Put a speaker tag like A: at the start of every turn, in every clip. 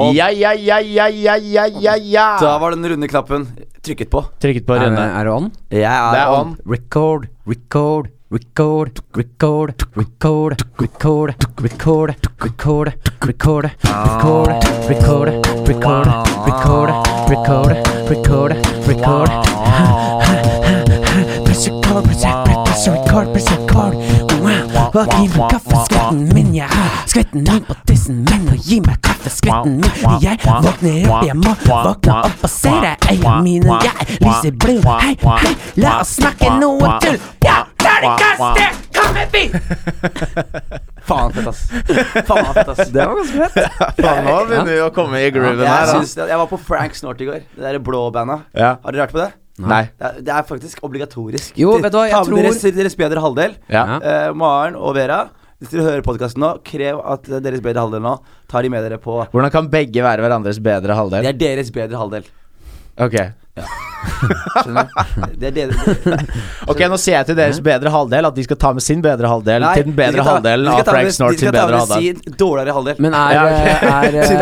A: Og-
B: Ja, ja, ja, ja, ja, ja, ja, ja.
A: Da var den runde knappen trykket på.
B: Trykket på
C: Ah. Er,
B: runde.
C: er det on?
A: Jeg er,
B: Det er
A: on.
B: on.
C: Record, record, record, record, record, record, record, record, record, record, record, record, record, record, record, record. Press record, press record, press record, press record. Og gi meg kaffeskvetten min, jeg har skvetten min på tissen min. Og gi meg kaffeskvetten min. Jeg våkner opp, jeg må våkne opp og se deg, øya mine. Jeg er lyseblå. Hei, hei, la oss snakke noe tull. Ja, terningkastet! Kom med bil!
A: Faen fett, ass. Faen fett, ass.
C: Det var ganske fett.
B: Faen, nå begynner vi å komme i grooven
A: Jeg,
B: her.
A: syns, jeg var på Frank Snort i går. Det derre blå bandet.
B: Da. Ja.
A: Har dere hørt på det?
B: Nei.
A: Det er, det er faktisk obligatorisk.
C: Jo, vet du hva, jeg
A: Ta med deres,
C: tror-
A: deres bedre halvdel.
B: Ja.
A: Eh, Maren og Vera, hvis dere hører podkasten nå, krev at deres bedre halvdel nå tar de med dere på
B: Hvordan kan begge være hverandres bedre
A: Det
B: halvdel?
A: er deres bedre halvdel.
B: Ok,
A: Skjønner du? Det er deres,
B: Ok, Nå sier jeg til deres bedre halvdel at de skal ta med sin bedre halvdel
A: Nei,
B: til den bedre
A: de skal ta-
B: halvdelen
A: de skal
B: av
A: ta med-
B: Frank Snort sin bedre
A: De skal ta
B: halvdel.
A: med sin dårligere halvdel.
C: Men er, eh,
B: Ja, ok.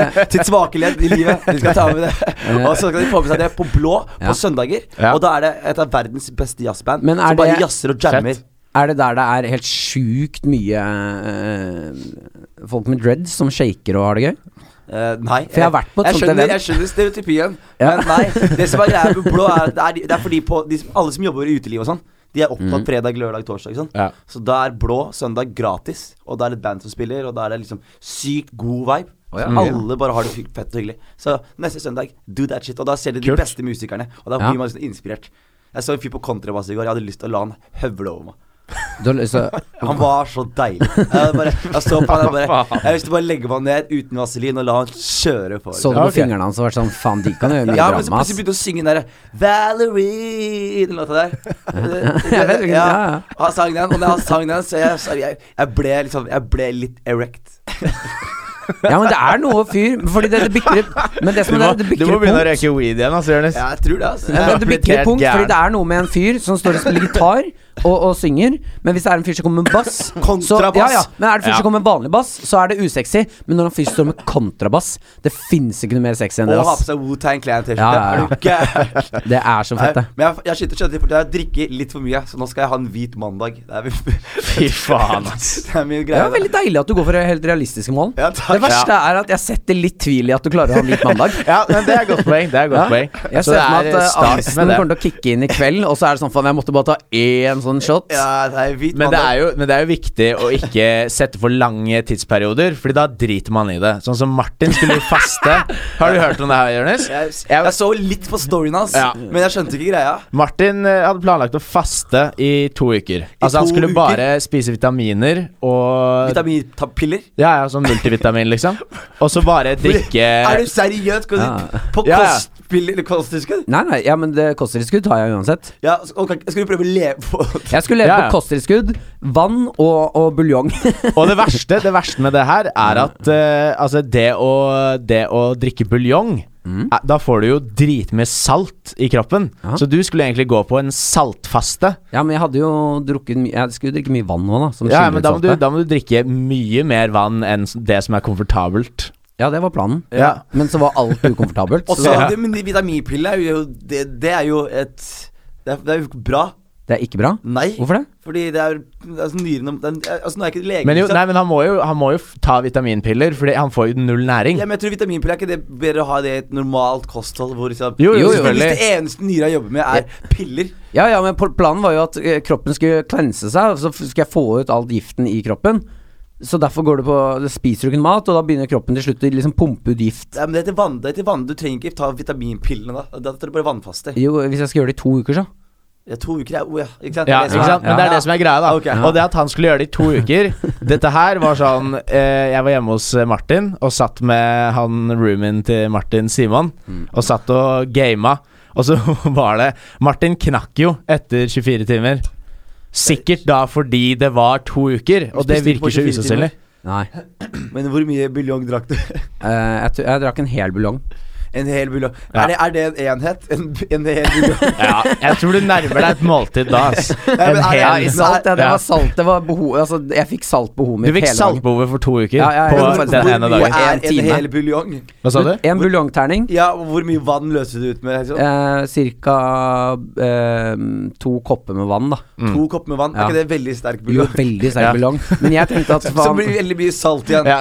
C: er, er
A: sitt svake ledd i livet. De skal ta med det. Og så skal de få med seg det på blå
C: Ja.
A: på søndager.
B: Ja.
A: Og da er det et av verdens beste jazzband
C: Men er
A: som bare
C: det-
A: jazzer og jammer.
B: Fett.
C: Er det der det er helt sjukt mye eh, folk med dreads som shaker og har det gøy?
A: Eh, nei.
C: For jeg har vært på et
A: jeg
C: sånt
A: skjønner,
C: event.
A: Jeg skjønner stereotypien,
C: Ja.
A: men nei. Det som er greia med blå, er at det er, det er fordi på, de som, alle som jobber i uteliv og sånn, de er
C: Mhm.
A: opptatt fredag, lørdag, torsdag. Sånn.
B: Ja.
A: Så da er blå søndag gratis, og da er det et band som spiller, og da er det liksom sykt god vibe.
C: Å ja. Mm.
A: Så Alle bare har det fy- fett og hyggelig. Så neste søndag, do that shit. Og da ser de de
B: Kult.
A: beste musikerne, og da
C: Ja.
A: blir man liksom inspirert. Jeg så en fyr på kontrabass i går, jeg hadde lyst til å la han høvle over meg.
C: Du har lyst til å-
A: Han var så deilig. Jeg, bare, jeg så på han, jeg bare Jeg har lyst til å bare legge meg ned uten vaselin og la han kjøre for.
C: Så du
B: Ja,
C: på
B: ok.
C: fingrene hans og vært sånn Faen, de kan jo gjøre mye
A: Ja, men så
C: drama, ass.
A: plutselig begynte hun å synge den derre Valerie Den låta der.
C: Jeg vet ikke, ja, ja.
A: Han sang den, og da han sang den, så jeg, så jeg, jeg ble liksom Jeg ble litt erect.
C: Ja, men det er noe fyr Fordi det, det bikker Men det
B: Du
C: som er
B: må,
C: det
B: du
C: bikker
B: må begynne å
C: punkt
B: røyke weed igjen, altså, Jonis.
A: Ja, jeg tror det, altså.
C: ja, men
A: Jeg,
C: det
B: blitt
C: bikker
B: helt
C: punkt,
B: gæren.
C: fordi det er noe med en fyr som står og spiller gitar og, og synger, men hvis det er en fyr som kommer med bass så,
A: Kontrabass.
C: ja, ja, Men er det en fyr
B: Ja.
C: som kommer med vanlig bass, så er det usexy. Men når en fyr står med kontrabass, det fins ikke noe mer sexy enn det.
A: og ha på
C: Ass.
A: seg Wu-Tang Clan-T-skjorte.
C: Ja, ja, ja.
A: Er du gæren?
C: Det er så
A: Nei,
C: fett, det.
A: Men jeg, jeg skjønte skjønte det, for jeg drikker litt for mye, så nå skal jeg ha en hvit mandag. Det er,
B: Fy faen, ass.
A: det er min
C: Det
A: greie.
C: var veldig deilig at du går for helt realistiske mål.
A: Ja, takk.
C: det verste er at jeg setter litt tvil i at du klarer å ha litt mandag.
B: Ja, men det er et godt poeng. Det er et godt poeng.
C: Jeg
B: Så
C: ser
B: det
C: for meg
B: er
C: at eh,
B: start
C: angsten
B: med det.
C: kommer til å kicke inn i kveld, og så er det sånn faen, jeg måtte bare ta én sånn shot.
A: Ja, det er hvit
B: Men det,
A: mandag.
B: er jo, men det er jo viktig å ikke sette for lange tidsperioder, Fordi da driter man i det. Sånn som Martin skulle jo faste. Har du hørt om det her, Jonis?
A: Jeg, jeg så litt på storyen hans,
B: Ja.
A: men jeg skjønte ikke greia.
B: Martin eh, hadde planlagt å faste i to uker. Altså Han
A: to
B: skulle
A: uker?
B: bare spise vitaminer og
A: Vitaminpiller.
B: Ja, ja, sånn multivitamin, liksom. Og så bare drikke
A: Er du seriøs? Skal du
C: Ja.
A: på
B: Ja, ja.
A: kostpill- eller kosttilskudd?
C: Nei, nei, ja, men det kosttilskudd tar jeg uansett.
A: Ja, s- ok, skal du prøve å leve på
C: Jeg skulle leve
B: Ja, ja.
C: på kosttilskudd, vann og, og buljong.
B: Og det verste, det verste med det her
A: Mm.
B: er at eh, altså det å, det å drikke buljong
A: Mm.
B: eh, Da får du jo dritmye salt i kroppen.
C: Ja.
B: Så du skulle egentlig gå på en saltfaste.
C: ja, men jeg hadde jo drukket mye Jeg skulle drikke mye vann nå, da. Som
B: Ja,
C: skiller
B: men
C: ut
B: da må, du,
C: saltet.
B: da må du drikke mye mer vann enn s- det som er komfortabelt.
C: Ja, det var planen.
B: Ja.
C: Men så var alt ukomfortabelt.
A: Og
C: så
A: så det- men de vitaminpillene er jo det, det er jo et det er, det er jo ikke bra.
C: det er ikke bra.
A: Nei.
C: Hvorfor det?
A: Fordi det er altså, nyrene det er- Altså, nå er jeg ikke lege,
B: Men, jo,
A: liksom.
B: nei, men han, må jo, han må jo f- ta vitaminpiller, Fordi han får jo null næring.
A: ja, men jeg tror vitaminpiller er ikke det bedre å ha det i et normalt kosthold hvor liksom
B: Jo,
C: jo,
A: Hvis-
B: selvfølgelig.
A: Hvis det eneste nyra jobber med, er piller
C: Ja, ja, men pl- planen var jo at eh, kroppen skulle klense seg, og så f- skulle jeg få ut all giften i kroppen. Så derfor går du på da Spiser du ikke mat, og da begynner kroppen til slutt å liksom pumpe ut gift.
A: ja, men Det er til vann, det er til vann. Du trenger ikke ta vitaminpillene da. Da tar du bare vannfaste.
C: Jo, hvis jeg skal gjøre det i to uker, så.
A: Ja, to uker er oh, ja, ikke sant?
B: Ja,
A: Det er det som
B: ikke
A: er-
B: sant? Men det er det som er greia, da.
A: Ok.
B: Og det at han skulle gjøre det i to uker Dette her var sånn eh, Jeg var hjemme hos eh, Martin og satt med han roomien til Martin Simon,
A: Mm.
B: og satt og gama. Og så var det Martin knakk jo etter 24 timer. Sikkert da fordi det var to uker, og det
A: Spiste ikke på
B: virker så
A: 24 timer.
B: usannsynlig.
C: Nei.
A: Men hvor mye buljong drakk du?
C: Eh, jeg, t jeg drakk en hel buljong.
A: En hel buljong.
B: Ja.
A: Er, det- er det en enhet? En, en hel buljong?
B: Ja, jeg tror du nærmer deg et måltid da, ass.
A: Nei,
B: En
A: men er det- liksom
B: hel-
A: Ja,
C: Ja, i salt, ja, det
B: Ja.
C: var salt. Det var behov, altså, jeg fikk saltbehov
B: Du
C: mitt
B: fikk
C: hele dagen.
B: saltbehovet for to uker
C: Ja, ja, ja,
B: på
C: det var faktisk-
B: den ene
A: Hvor
B: dagen.
A: mye
C: En
A: er en
C: time.
A: hel buljong?
B: Hva sa du?
C: En buljongterning.
A: Ja, og hvor mye vann løser du ut med? Liksom?
C: Eh, cirka eh, to kopper med vann, da.
A: To
B: Mm.
A: kopper med vann?
C: Ja.
A: Er ikke det veldig sterk
C: Jo,
A: buljong?
C: veldig
B: Ja.
C: sterk buljong. Men jeg tenkte at
A: Så
C: faen
A: blir det veldig mye salt igjen.
B: Ja.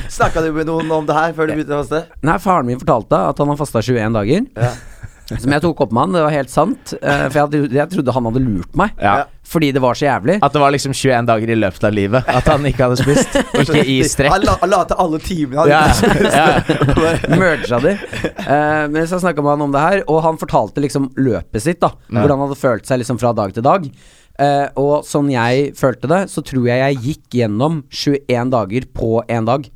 A: Snakka du med noen om det her før du begynte å faste?
C: Nei, faren min fortalte at han har fasta 21 dager.
A: Ja.
C: Som jeg tok opp med han, det var helt sant. eh, for jeg, hadde, jeg trodde han hadde lurt meg.
B: Ja.
C: Fordi det var så jævlig.
B: At det var liksom 21 dager i løpet av livet at han ikke hadde spist. Ikke i strekk.
A: Han la- han la til alle timene.
B: Ja,
A: Han-
B: ja.
C: Merga de. Eh, men så snakka man om det her, og han fortalte liksom løpet sitt. da Hvordan han hadde følt seg liksom fra dag til dag. Eh, og sånn jeg følte det, så tror jeg jeg gikk gjennom 21 dager på én dag.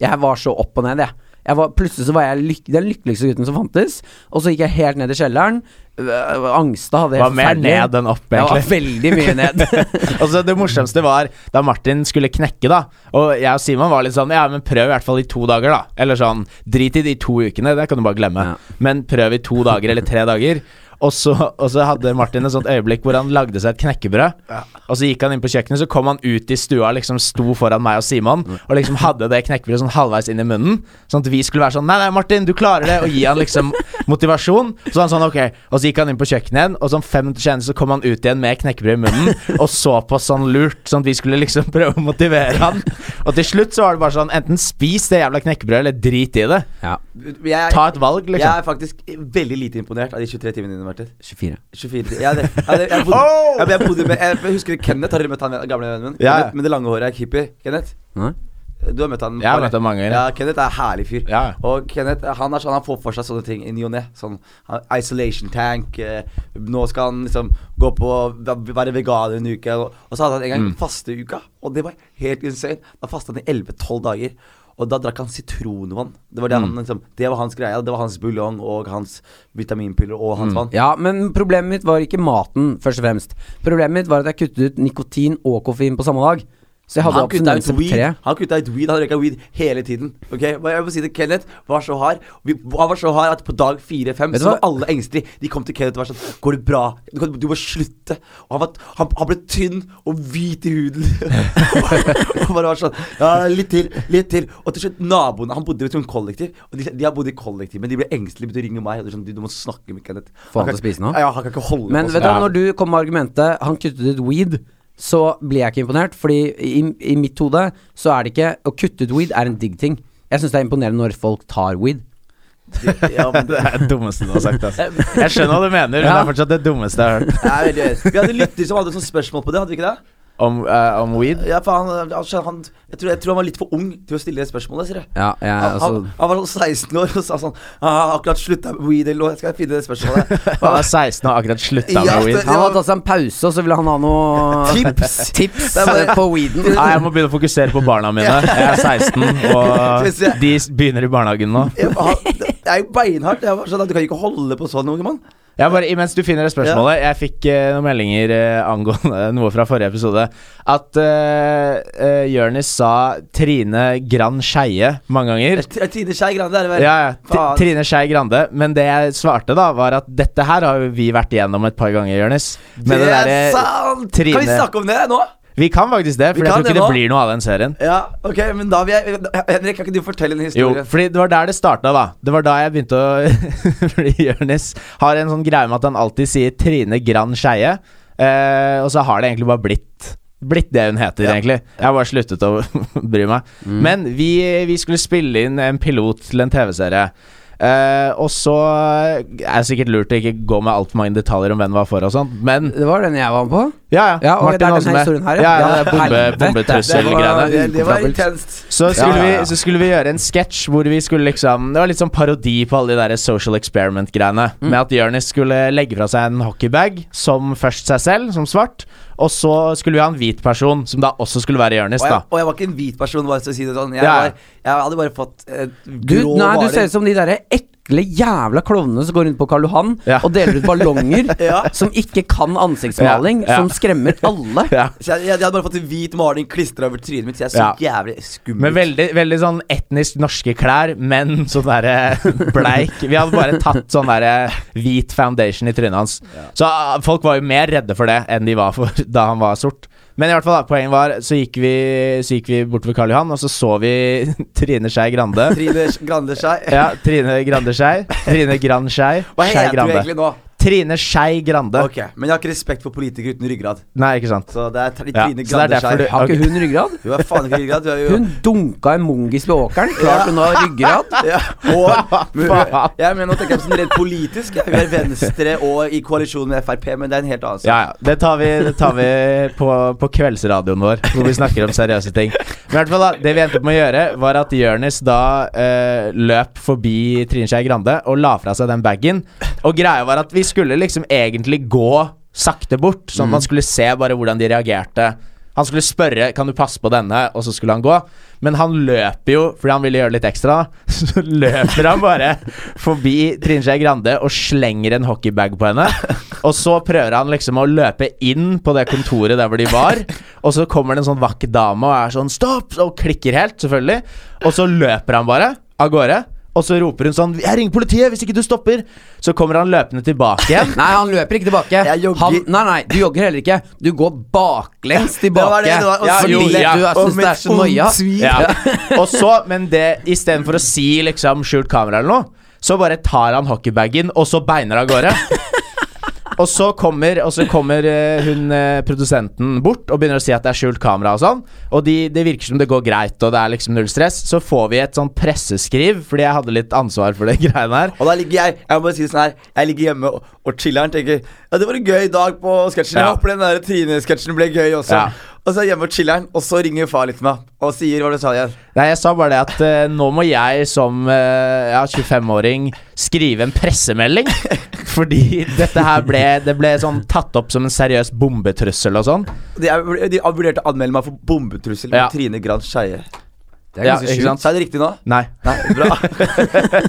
C: Jeg var så opp og ned, jeg. jeg var, plutselig så var jeg lyk den lykkeligste gutten som fantes, og så gikk jeg helt ned i kjelleren. Øh, Angsta hadde jeg
B: Var mer
C: forferdelig.
B: ned enn opp,
C: Jeg var
B: egentlig.
C: veldig mye ned.
B: Og så Det morsomste var da Martin skulle knekke, da. Og jeg og Simon var litt sånn Ja, men prøv i hvert fall i to dager, da. Eller sånn Drit i de to ukene, det kan du bare glemme.
C: Ja.
B: Men prøv i to dager eller tre dager. Og så, og så hadde Martin et sånt øyeblikk hvor han lagde seg et knekkebrød. Og så gikk han inn på kjøkkenet, så kom han ut i stua, liksom sto foran meg og Simon, og liksom hadde det knekkebrødet sånn halvveis inn i munnen. Sånn at vi skulle være sånn Nei, nei, Martin, du klarer det! Og gi han liksom motivasjon. Så han sånn, ok Og så gikk han inn på kjøkkenet igjen, og sånn fem minutter senere så kom han ut igjen med knekkebrød i munnen, og så på oss sånn lurt, sånn at vi skulle liksom prøve å motivere han. Og til slutt så var det bare sånn Enten spis det jævla knekkebrødet, eller drit i det.
C: Ja,
A: Jeg,
B: Ta et valg,
A: jeg
B: liksom.
A: er faktisk veldig lite imponert av de 23 timene dine, Martin.
C: 24.
A: 24 timer. Jeg, hadde- jeg, hadde- jeg, bodde,
B: Oh!
A: jeg, jeg, bodde med, jeg, jeg husker Kenneth. Har dere møtt han gamle vennen min?
B: Ja.
A: Kenneth, med det lange håret. Hippie. Kenneth.
C: Nei.
A: Du har møtt han?
B: Jeg har
A: bare.
B: møtt ham mange ganger.
A: Ja, Kenneth er en herlig fyr.
B: Ja.
A: Og Kenneth han, er sånn, han får for seg sånne ting i ny og ne. Sånn han- isolation tank. Eh, nå skal han liksom gå på v- være veganer en uke. Og, og så hadde han en gang
B: Mm.
A: fasteuka, og det var helt insane. Da fasta han i 11-12 dager. Og da drakk han sitronvann. Det
B: Mm.
A: var, det, han, liksom, det var hans greie. Det var hans buljong og hans vitaminpiller og
B: Mm.
A: hans vann.
C: Ja, men problemet mitt var ikke maten, først og fremst. Problemet mitt var at jeg kuttet ut nikotin og koffein på samme dag. Så jeg hadde
A: han kutta ut
C: abstinenser på
A: weed.
C: tre.
A: Han kutta ut weed, han røyka weed hele tiden. Ok, Hva- Jeg må si det, Kenneth var så hard Vi, Han var så hard at på dag fire-fem
C: Vet du
A: så var
C: hva?
A: alle engstelige. De kom til Kenneth og var sånn 'Går det bra? Du, kan, du må slutte.' Og han, var, han, han ble tynn og hvit i huden. og bare var sånn 'Ja, litt til, litt til.' Og til slutt, naboene Han bodde i et sånt kollektiv, og de, de har bodd i kollektiv, men de ble engstelige. Begynte å ringe meg. Og de var sånn, du, 'Du må snakke med Kenneth.'
C: Få han
A: kan
C: til å
A: ikke-
C: spise nå?
A: Ja, han kan ikke holde
C: Men
A: på
C: vet du,
A: sånn.
C: hva, når du kom med argumentet 'han kuttet ut weed', så ble jeg ikke imponert. Fordi i, i mitt hode så er det ikke Å kutte ut weed er en digg ting. Jeg syns det er imponerende når folk tar weed.
A: ja, men,
B: Det er det dummeste du har sagt, ass. Jeg skjønner hva du mener, men det
C: Ja.
B: er fortsatt det dummeste jeg har hørt.
A: Nei, veldig gøy. vi hadde lyttere som hadde sånne spørsmål på det, hadde vi ikke det?
B: Om, eh, om weed?
A: Ja, for han, altså, han jeg, tror, jeg tror han var litt for ung til å stille det spørsmålet, sier jeg.
C: Ja, jeg,
A: Han,
C: altså,
A: han, han var sånn 16 år og sa sånn «Ah, Jeg har akkurat slutta med weed eller noe, jeg skal finne det spørsmålet.
B: Han
C: altså,
B: er 16 og har akkurat slutta
A: Ja,
B: med
A: det-
B: weed.
C: han hadde tatt seg en pause, og så ville han ha noe
A: Tips!
C: tips
A: Det er bare-
C: eh, på weeden.
B: Nei, jeg må begynne å fokusere på barna mine. Jeg er 16, og de s- begynner i barnehagen nå.
A: Jeg, han, det er jo beinhardt. Jeg var sånn, Du kan ikke holde på sånn, unge mann.
B: Jeg bare, Imens du finner det spørsmålet Jeg fikk eh, noen meldinger eh, angående noe fra forrige episode. At uh, Jørnis sa Trine Grand Skeie mange ganger.
A: T- Trine Skei Grande er det vel?
B: Ja, ja. Tr-
A: Faen.
B: Trine Skei Grande. Men det jeg svarte, da, var at dette her har jo vi vært igjennom et par ganger, Jørnis. Med det
A: Det er
C: eh,
B: derre-
A: sant! Kan vi
B: Trine-
A: snakke om det nå?
B: Vi kan faktisk det,
A: Vi
B: for jeg
A: kan
B: tror ikke
A: det
B: det,
A: nå.
B: blir noe av den serien.
A: Ja, ok, men da vil jeg Henrik, kan ikke du fortelle en
B: Jo,
A: historie?
B: fordi det var der det starta, da. Det var da jeg begynte å Fordi Jonis har en sånn greie med at han alltid sier Trine Grand Skeie, eh, og så har det egentlig bare blitt Blitt det hun heter,
A: Ja.
B: egentlig. Jeg har bare sluttet å bry meg.
C: Mm.
B: Men vi, vi skulle spille inn en pilot til en TV-serie. Eh, og så er det sikkert lurt å ikke gå med altfor mange detaljer om hvem var for og sånn, men
C: Det var den jeg var med på.
B: ja, ja.
C: Ja, og det er
B: Martin
C: denne
B: Åsme.
C: historien her, ja.
B: ja. ja,
C: Ja,
B: det er bombe,
C: helvete.
A: det,
B: bombetrussel-greiene.
A: var, det, det var
C: Ukomfortabelt.
A: intenst.
B: Så skulle,
C: Ja, ja, ja.
B: Vi, så skulle vi gjøre en sketsj hvor vi skulle liksom Det var litt sånn parodi på alle de der social experiment-greiene.
C: Mm.
B: Med at Jonis skulle legge fra seg en hockeybag som først seg selv, som svart. Og så skulle vi ha en hvit person, som da også skulle være Jonis,
A: Og
B: da.
A: jeg, og jeg var ikke en hvit person, bare for å si det sånn. Jeg,
B: Ja.
A: var, jeg hadde bare fått eh,
C: Du,
A: grå
C: nei, du
A: varer.
C: ser ut som de derre ek
D: ekle jævla klovnene som går rundt på Karl Johan
B: Ja.
D: og deler ut ballonger
A: Ja.
D: som ikke kan
B: Ja,
D: ansiktsmaling,
B: ja.
D: som skremmer alle.
B: Ja.
A: Så jeg, jeg, jeg hadde bare fått en hvit maling klistra over trynet mitt, så jeg så jævlig skummel
B: Men veldig, veldig sånn etnisk norske klær, men sånn derre bleik. Vi hadde bare tatt sånn derre hvit foundation i trynet hans. Så ah, folk var jo mer redde for det enn de var for da han var sort. Men i hvert fall da, poenget var, så gikk vi, så gikk vi bort ved Karl Johan, og så så vi Trine Skei Grande.
A: Trine Grande seg.
B: Ja, Trine Grande Skei. Trine Grand Skei.
A: Hva
B: Skei
A: heter du
B: Grande.
A: egentlig nå?
B: Trine Skei Grande.
A: Ok, Men jeg har ikke respekt for politikere uten ryggrad.
B: Nei, ikke sant.
A: Så det er Tr-
B: Ja,
A: Trine
B: så det er
A: Grande
B: derfor
A: Skei.
B: du-
A: Hun
D: Har ikke hun ryggrad?
A: har faen ikke ryggrad. Hun er jo
D: Hun dunka en mongis ved åkeren. Klart hun har ryggrad.
A: ja, og, men,
B: Faen.
A: jeg mener, nå tenker jeg på sånn rent politisk. jeg. Vi er Venstre og i koalisjon med Frp, men det er en helt annen sak.
B: Ja, ja. Det tar vi, det tar vi på, på kveldsradioen vår, hvor vi snakker om seriøse ting. Men i hvert fall da, Det vi endte opp med å gjøre, var at Jonis da eh, løp forbi Trine Skei Grande og la fra seg den bagen. Og greia var at vi skulle liksom egentlig gå sakte bort, sånn at man skulle se bare hvordan de reagerte. Han skulle spørre Kan du passe på denne, og så skulle han gå. Men han løper jo, fordi han ville gjøre litt ekstra, så løper han bare forbi Trine Skei Grande og slenger en hockeybag på henne. Og så prøver han liksom å løpe inn på det kontoret der hvor de var, og så kommer det en sånn vakker dame og er sånn 'stopp!' og klikker helt, selvfølgelig. Og så løper han bare av gårde. Og så roper hun sånn 'Jeg ringer politiet hvis ikke du stopper!' Så kommer han løpende tilbake igjen.
D: Nei, han løper ikke tilbake.
A: Jeg jogger.
D: Han, nei, nei, du jogger heller ikke. Du går baklengs tilbake.
A: det, det var- og
D: Ja,
B: så
D: fordi
B: lille,
D: du er,
A: og
D: synes
A: med
D: det er
A: et
D: så noia.
A: ondt svir.
B: Ja. Og så, men det istedenfor å si liksom skjult kamera eller noe, så bare tar han hockeybagen, og så beiner av gårde. Og så kommer, og så kommer eh, hun eh, produsenten bort og begynner å si at det er skjult kamera. Og sånn Og de, det virker som det går greit, og det er liksom null stress. Så får vi et sånn presseskriv, fordi jeg hadde litt ansvar for det greiene her.
A: Og da ligger jeg jeg må bare si det sånn her Jeg ligger hjemme og, og chiller'n tenker Ja, det var en gøy dag på sketsjen.
B: Ja.
A: Jeg håper den der Trine-sketsjen ble gøy også.
B: Ja.
A: Og så er jeg hjemme og chiller'n, og så ringer far litt til meg og sier hva du sa igjen.
B: Nei, jeg sa bare det at eh, nå må jeg som eh, ja, 25-åring skrive en pressemelding. Fordi dette her ble, det ble sånn tatt opp som en seriøs bombetrussel og sånn.
A: De, er- de vurderte å anmelde meg for bombetrussel
B: Ja.
A: mot Trine Grand Skeie.
D: Det er
B: Ja,
D: ganske
B: ikke
D: sjukt.
B: sant?
A: Sa jeg det riktig nå?
B: Nei.
A: Nei, bra.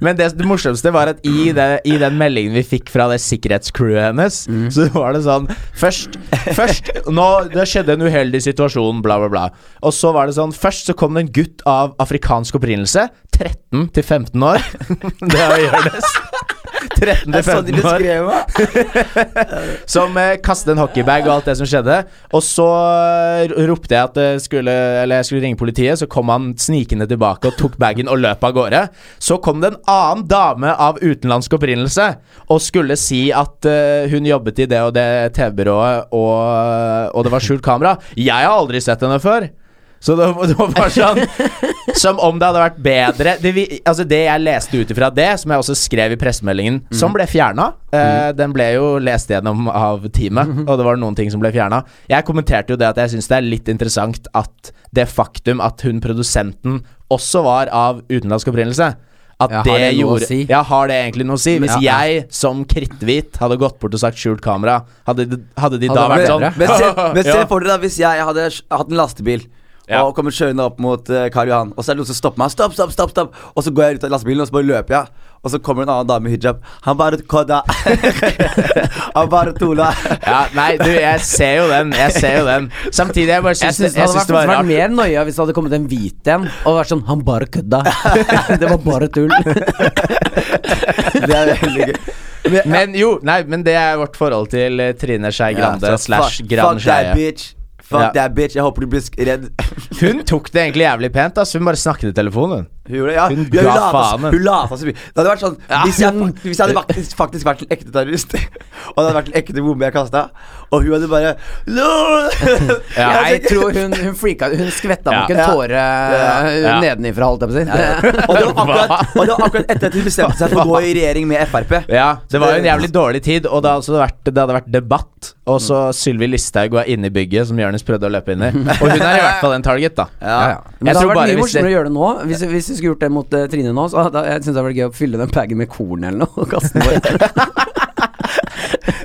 B: Men det, det morsomste var at i, det, i den meldingen vi fikk fra det sikkerhetscrewet hennes, så var det sånn Først, først nå, Det skjedde en uheldig situasjon, bla, bla, bla. Og så var det sånn Først så kom det en gutt av afrikansk opprinnelse. 13 til 15 år. det er Jonis. 13
A: Det er
B: til
A: sånn
B: 15
A: de
B: år.
A: beskrev meg.
B: Som eh, kastet en hockeybag og alt det som skjedde. Og så eh, ropte jeg at det skulle, eller jeg skulle ringe politiet, så kom han snikende tilbake og tok bagen og løp av gårde. Så kom det en annen dame av utenlandsk opprinnelse og skulle si at eh, hun jobbet i det og det TV-byrået, og, og det var skjult kamera. Jeg har aldri sett henne før. Så det var, det var bare sånn Som om det hadde vært bedre Det, vi, altså det jeg leste ut ifra det, som jeg også skrev i pressemeldingen,
D: Mhm.
B: som ble fjerna eh, Den ble jo lest gjennom av teamet,
D: Mhm.
B: og det var noen ting som ble fjerna. Jeg kommenterte jo det at jeg syns det er litt interessant at det faktum at hun produsenten også var av utenlandsk opprinnelse at
D: Ja, har
B: det,
D: det noe å
B: gjorde
D: si?
B: Ja, har det egentlig noe å si? Hvis
D: Ja, ja.
B: jeg som kritthvit hadde gått bort og sagt skjult kamera, hadde, de- hadde de
D: Hadde
B: da
D: det
B: vært
D: vært
B: sånn
D: bedre?
A: Men se, men se
B: Ja.
A: for dere da hvis jeg hadde s- hatt en lastebil
B: Ja.
A: og kommet kjørende opp mot eh, Karl Johan, og så er det noen som stopper meg. Stopp, stopp, stopp, stopp Og så går jeg ut av lastebilen, og så bare løper jeg. Og så kommer en annen dame med hijab. Han bare kodda. Han bare tulla.
B: Ja, nei, du, jeg ser jo den. Jeg ser jo den. Samtidig, jeg bare
D: Jeg
B: syns
D: syns
B: det,
D: det
B: jeg
D: hadde
B: syns
D: vært,
B: det var
D: vært
B: rart.
D: mer nøya hvis det hadde kommet en hvit en og vært sånn 'Han bare kødda'. det var bare tull.
A: Det er veldig gøy.
B: Men jo, nei, men det er vårt forhold til eh, Trine Skei Grande
A: Ja, så
B: slash
A: fuck-
B: Gran
A: Fuck that
B: Skeie.
A: bitch. Fuck
B: Ja.
A: that bitch. Jeg håper du blir sk- redd.
B: Hun tok det egentlig jævlig pent. ass Hun bare snakket i telefonen.
A: Hun gjorde det, ja.
B: Hun
A: Hun,
B: ga
A: ja, hun lata
B: faen,
A: som-
B: hun.
A: hun lata så mye. Det hadde vært sånn
B: Ja,
A: Hvis jeg,
B: hun-
A: fakt- hvis jeg hadde faktisk, faktisk vært en ekte terrorist, og det hadde vært en ekte bombe jeg kasta, og hun hadde bare no!
B: Ja. altså,
A: Jeg
D: Jeg
A: tenker-
D: tror hun, hun freaka Hun skvetta nok
B: Ja.
D: en tåre eh,
B: Ja.
D: nedenifra, holdt jeg på å si.
A: Og det var akkurat, og det var akkurat etter at hun bestemte seg for å gå i regjering med Frp.
B: Ja, Det var jo en jævlig dårlig tid, og det hadde, også vært, det hadde vært debatt. Og så Sylvi Listhaug var inne i bygget, som Jonis prøvde å løpe inn i. Og hun er i hvert fall en target, da.
A: Ja.
D: Men
B: Jeg tror
D: det hadde vært
B: bare hvis
D: mye
B: det-
D: morsommere å gjøre det nå. Hvis, hvis vi skulle gjort det mot eh, Trine nå, så hadde jeg synes det hadde vært gøy å fylle den bagen med korn eller noe. Og kaste den bort.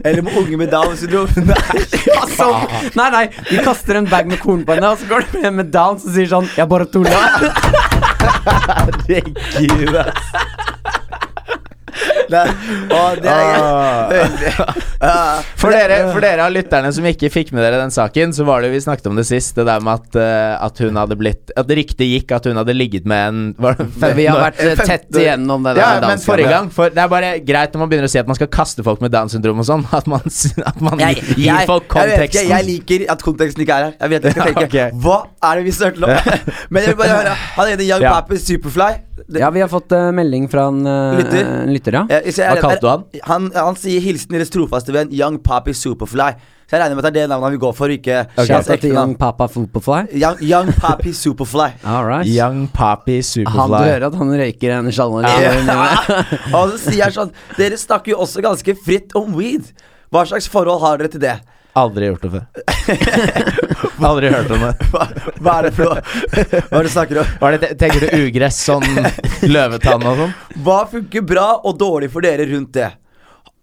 A: Eller med unge med Downs syndrom.
D: altså, nei, nei, vi kaster en bag med korn på henne, og så går det med, med Downs og sier sånn 'Jeg bare tulla'.
B: Herregud, ass.
A: Nei, å, det er
B: Ah.
A: gøy.
C: Ah.
A: Ja.
B: For dere, for dere av lytterne som ikke fikk med dere den saken, så var det jo vi snakket om det sist, det der med at, eh, at hun hadde blitt At ryktet gikk at hun hadde ligget med en var, det
C: Men vi har
B: nå-
C: vært eh, tett igjennom det der
B: ja, men
C: danskene.
B: forrige gang for Det er bare greit når man begynner å si at man skal kaste folk med Downs syndrom og sånn, at man, s- at man
C: Jeg-
B: gir
C: jeg-
B: folk
A: Jeg vet ikke,
B: konteksten.
A: jeg liker at konteksten ikke er her. Jeg vet jeg skal
B: Ja,
A: tenke
B: ok.
A: Hva er det vi snakker om? Men jeg vil bare høre Han heter Young
B: Ja.
A: Pappy Superfly. Det-
C: Ja, vi har fått eh, melding fra en eh,
A: Lytter.
C: en lytter, ja.
A: Eh, hvis jeg-
B: Hva kalte du han?
A: han? Han sier 'Hilsen deres trofaste venn Young Pappy Superfly'. Så jeg regner med at det er det navnet han vil gå for, ikke hans
C: Shout out
A: ekte
C: til
A: navn.
C: Young Papa Footballfly.
A: Young, young Pappy Superfly.
C: All right.
B: Young Papi
C: Han, du
B: Superfly.
C: hører at han røyker en eh, sjaller.
A: Og så sier han sånn Dere snakker jo også ganske fritt om weed. Hva slags forhold har dere til det?
B: Aldri gjort det før. Aldri hørt om det.
A: Hva, hva er det for noe? Hva er det du snakker om?
B: Hva er det, tenker du ugress, sånn løvetann og sånn?
A: Hva funker bra og dårlig for dere rundt det?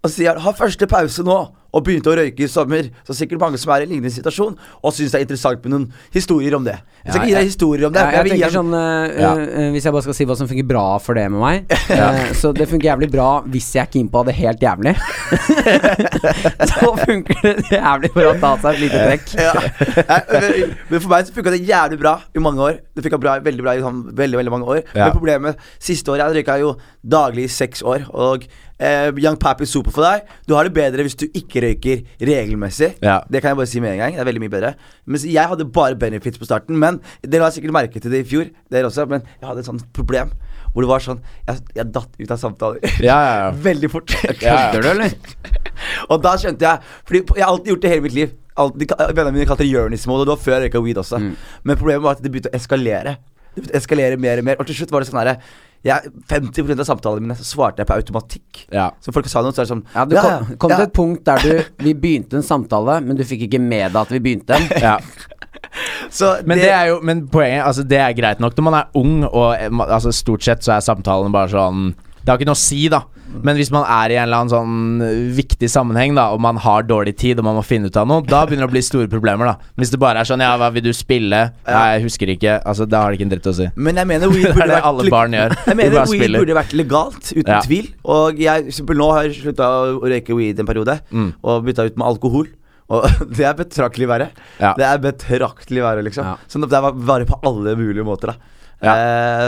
A: Og så sier han ha første pause nå, og begynte å røyke i sommer. Så sikkert mange som er i en lignende situasjon, og syns det er interessant med noen historier om det. Jeg skal
C: Ja,
A: ikke gi
C: jeg-
A: deg historier om det.
C: Ja,
A: men
C: jeg
A: vil gi
C: tenker
A: han-
C: sånn eh,
B: Ja.
C: eh, Hvis jeg bare skal si hva som funker bra for det med meg eh, Så det funker jævlig bra hvis jeg er keen på å ha det helt jævlig. så funker det jævlig bra å ta seg et lite trekk.
A: ja. Nei, men- Men for meg så funka det jævlig bra i mange år. Det funka bra, veldig bra i sånn, veldig veldig mange år.
B: Ja.
A: Men problemet siste året Jeg røyka jo daglig i seks år. Og eh, Young Pappy Super for deg. Du har det bedre hvis du ikke røyker regelmessig.
B: Ja.
A: Det kan jeg bare si med en gang. Det er veldig mye bedre. Mens jeg hadde bare benefits på starten. Men dere har sikkert merket det i fjor, dere også. Men jeg hadde et sånt problem hvor det var sånn Jeg, jeg datt ut av samtaler.
B: Ja, ja, ja.
A: Veldig fort.
B: Ja, ja.
C: Kødder du, eller?
A: Og da skjønte jeg Fordi jeg har alltid gjort det hele mitt liv. Alltid, ka- vennene mine kalte det journey-mode, og det var før jeg røyka weed også.
C: Mm.
A: Men problemet var at det begynte å eskalere. Det begynte å eskalere mer og mer. Og til slutt var det sånn herre jeg- 50 av samtalene mine så svarte jeg på automatikk.
B: Ja.
A: Så folk sa noe, så er det sånn
C: Ja, du kom, kom til et punkt der du Vi begynte en samtale, men du fikk ikke med deg at vi begynte den.
B: Ja.
A: Så
B: Men det er jo Men poenget Altså det er greit nok når man er ung, og eh, ma- altså, stort sett så er samtalen bare sånn Det har ikke noe å si, da. Men hvis man er i en eller annen sånn eh, viktig sammenheng, da, og man har dårlig tid og man må finne ut av noe, da begynner det å bli store problemer, da. Hvis det bare er sånn Ja, hva vil du spille? Nei, jeg husker ikke. Altså, da har det ikke en dritt å si.
A: Men jeg mener weed
B: Det
A: burde
B: er det
A: vært
B: alle
A: leg-
B: barn gjør.
A: Jeg
B: De
A: mener
B: bare
A: weed
B: spiller.
A: burde vært legalt, uten
B: Ja.
A: tvil. Og jeg for eksempel nå har jeg slutta å å røyke weed en periode,
B: Mm.
A: og bytta ut med alkohol. Og det er betraktelig verre.
B: Ja.
A: Det er betraktelig verre, liksom.
C: Ja.
A: Så det var bare på alle mulige måter, da.
B: Ja.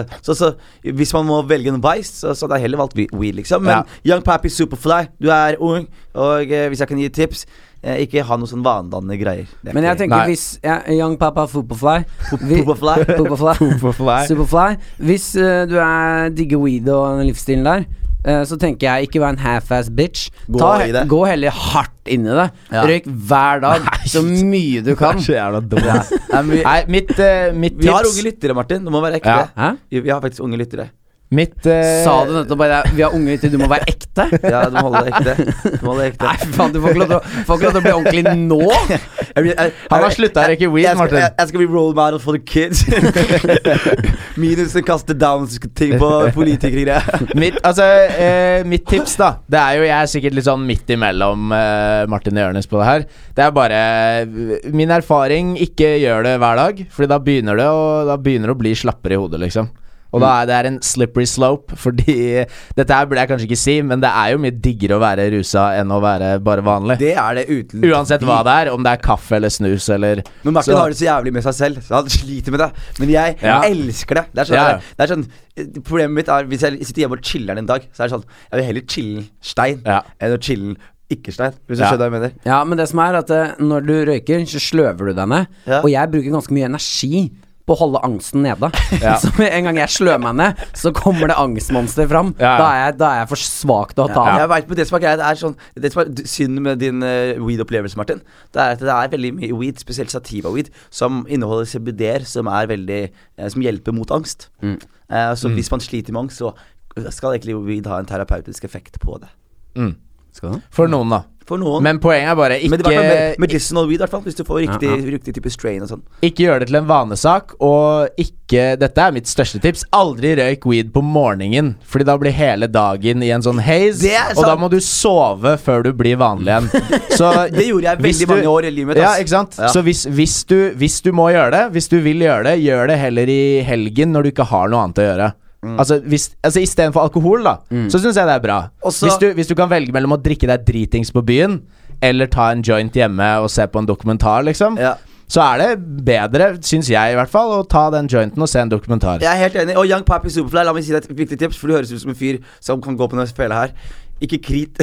A: Eh, så, så hvis man må velge en vice, så, så hadde jeg heller valgt we- weed, liksom. Men
B: Ja.
A: Young Pappy Superfly, du er ung, og eh, hvis jeg kan gi tips, eh, ikke ha noe sånn vanedannende greier. Det er
C: Men jeg
A: ikke-
C: tenker
B: Nei.
C: hvis ja, Young Papa Footballfly vi-
A: Superfly.
C: Footballfly.
B: Superfly.
C: Superfly. Hvis eh, du er digger weed og den livsstilen der, eh, så tenker jeg ikke vær en half-ass bitch.
A: Gå i det.
C: Gå heller hardt inn i det. Røyk hver dag så mye du kan.
B: Det er så jævla dumt.
A: Nei, men vi,
B: Nei, mitt, eh, mitt
A: vi har
B: tips
A: unge lyttere, Martin. Du må være ekte.
B: Ja.
C: Hæ?
A: Vi vi har faktisk unge lyttere.
B: Mitt eh,
C: Sa du nettopp bare Vi har unge til du må være ekte?
A: Ja, du må holde deg ekte. Du må holde deg ekte.
C: Nei, fy faen, du får ikke lov til å- får ikke lov til å bli ordentlig nå.
A: Jeg blir- jeg-
B: Han har
A: jeg-
B: sluttet å
A: jeg-
B: røyke weed,
A: jeg skal-
B: Martin.
A: Jeg, jeg skal bli role model for the kids. Minus å kaste downs-ting på politikergreier.
B: mitt, altså, eh, mitt tips, da Det er jo Jeg er sikkert litt sånn midt imellom eh, Martin og Jørnes på det her. Det er bare eh, Min erfaring ikke gjør det hver dag, Fordi da begynner det å, da begynner det å bli slappere i hodet, liksom. Og
A: Mm.
B: da er det er en slippery slope, fordi Dette her burde jeg kanskje ikke si, men det er jo mye diggere å være rusa enn å være bare vanlig.
A: Det er det uten
B: Uansett hva det er, om det er kaffe eller snus eller
A: Men Martin
B: så-
A: har det så jævlig med seg selv, så han sliter med det. Men jeg
B: Ja.
A: elsker det. Det er sånn,
B: Ja.
A: det er sånn eh, Problemet mitt er hvis jeg sitter hjemme og chiller'n en dag, så er det sånn Jeg vil heller chille stein
B: Ja.
A: enn å chille ikke stein, hvis du
B: Ja.
A: skjønner hva jeg mener.
C: Ja, men det som er at eh, når du røyker, så sløver du deg ned.
A: Ja.
C: Og jeg bruker ganske mye energi på å holde angsten nede.
B: Ja.
C: Så med en gang jeg sløver meg ned, så kommer det angstmonster fram.
B: Ja, ja.
C: Da, er jeg, da er jeg for svak til å ta
A: Jeg
C: av.
A: vet, men det som er greit, er sånn Det som er d- synd med din eh, weed-opplevelse, Martin, det er at det er veldig mye weed, spesielt sativa-weed, som inneholder CBD-er som er veldig eh, Som hjelper mot angst.
B: Mm.
A: Eh, så hvis man sliter med angst, så skal egentlig weed ha en terapeutisk effekt på det.
B: mm,
C: Skal du?
B: For noen, da.
A: For noen.
B: Men poenget er bare
A: men det er i hvert fall med-
B: ikke,
A: medicinal weed, i hvert fall. Hvis du får riktig,
C: Ja,
A: riktig type strain og sånn.
B: ikke gjør det til en vanesak. Og ikke Dette er mitt største tips. Aldri røyk weed på morgenen, Fordi da blir hele dagen i en sånn haze.
A: Det er
B: Og da
A: sant.
B: må du sove før du blir vanlig igjen. Så
A: Det gjorde jeg
B: hvis
A: veldig mange år i livet mitt.
B: Ja,
A: ass.
B: ikke sant?
A: Ja.
B: Så hvis, hvis, du, hvis du må gjøre det, hvis du vil gjøre det, gjør det heller i helgen når du ikke har noe annet å gjøre. Altså, hvis, altså Istedenfor alkohol, da, så syns jeg det er bra.
A: Også-
B: hvis, du, hvis du kan velge mellom å drikke deg dritings på byen, eller ta en joint hjemme og se på en dokumentar, liksom,
A: Ja.
B: så er det bedre, syns jeg i hvert fall, å ta den jointen og se en dokumentar.
A: Jeg er helt enig. Og Young Papi Superfly, la meg si deg et viktig tips, for du høres ut som en fyr som kan gå på den fela her. Ikke krit.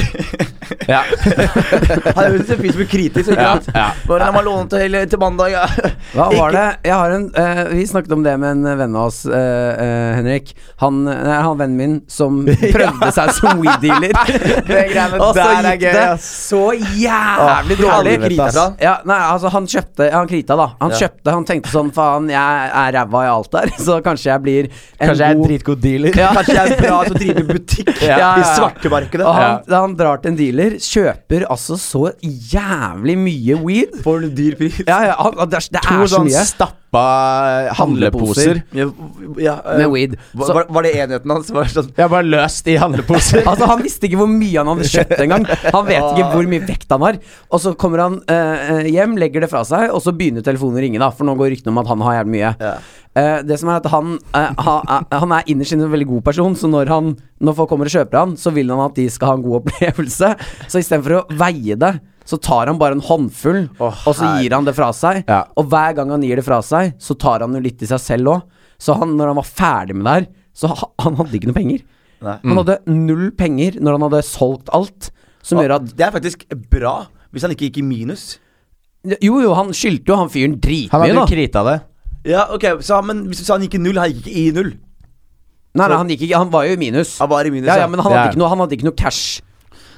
B: Ja.
A: Han høres ut som en sånn fyr som er kritisk. Ikke
B: Ja,
A: sant?
B: ja.
A: Bare la meg låne til, til mandag. Ja.
C: Hva var det? Jeg har en, eh, vi snakket om det med en venn av oss, eh, eh, Henrik. Han, nei, han vennen min som prøvde seg som weed-dealer.
B: greiene
C: og så
B: der er
C: gikk
B: gøy,
C: det
B: ass.
C: så jævlig
A: Åh,
C: dårlig.
A: helvete, ass.
C: Ja, nei, altså Han kjøpte Han krita, da. Han
A: Ja.
C: kjøpte, han tenkte sånn faen, jeg er ræva i alt der, så kanskje jeg blir en
B: Kanskje jeg er en
C: god
B: dritgod dealer.
C: Ja.
A: Kanskje jeg er bra til å drive butikk
C: Ja, ja, ja.
A: i svartemarkedet.
C: Og han, han drar til en dealer, kjøper altså så jævlig mye weed.
A: For en dyr pris.
C: Ja, ja, han, det er, det
B: To
C: er så
B: sånn
C: mye.
B: stappa handleposer.
A: Ja, ja, eh,
C: Med weed.
A: Var,
C: Så-
A: var- var det enheten hans? Var det sånn
B: Jeg har bare løst i handleposer.
C: Altså Han visste ikke hvor mye han hadde kjøpt engang. Han vet ikke hvor mye vekt han har. Og så kommer han eh, hjem, legger det fra seg, og så begynner telefonen å ringe, da. For nå går ryktene om at han har jævlig mye.
A: Ja.
C: Eh, det som er at han, eh, ha, eh, han er innerst inne en veldig god person, så når, han, når folk kommer og kjøper han, så vil han at de skal ha en god opplevelse. Så istedenfor å veie det, så tar han bare en håndfull,
A: Å,
C: og så gir han det fra seg.
B: Ja.
C: Og hver gang han gir det fra seg, så tar han jo litt i seg selv òg. Så han, når han var ferdig med det her, så ha, han hadde ikke noe penger.
A: Nei.
C: Han hadde null penger når han hadde solgt alt. Som gjør at
A: Det er faktisk bra, hvis han ikke gikk i minus.
C: Jo, jo, han skyldte jo han fyren
B: Han
C: dritmye,
B: hadde
C: da.
B: jo krita det.
A: Ja, ok, så han, Men hvis hvis han gikk i null, han gikk ikke i null.
C: Nei, nei, han gikk ikke Han var jo i minus.
A: Han var i minus.
C: Ja, ja, men han hadde,
B: Det er-
C: ikke noe, han hadde ikke noe cash.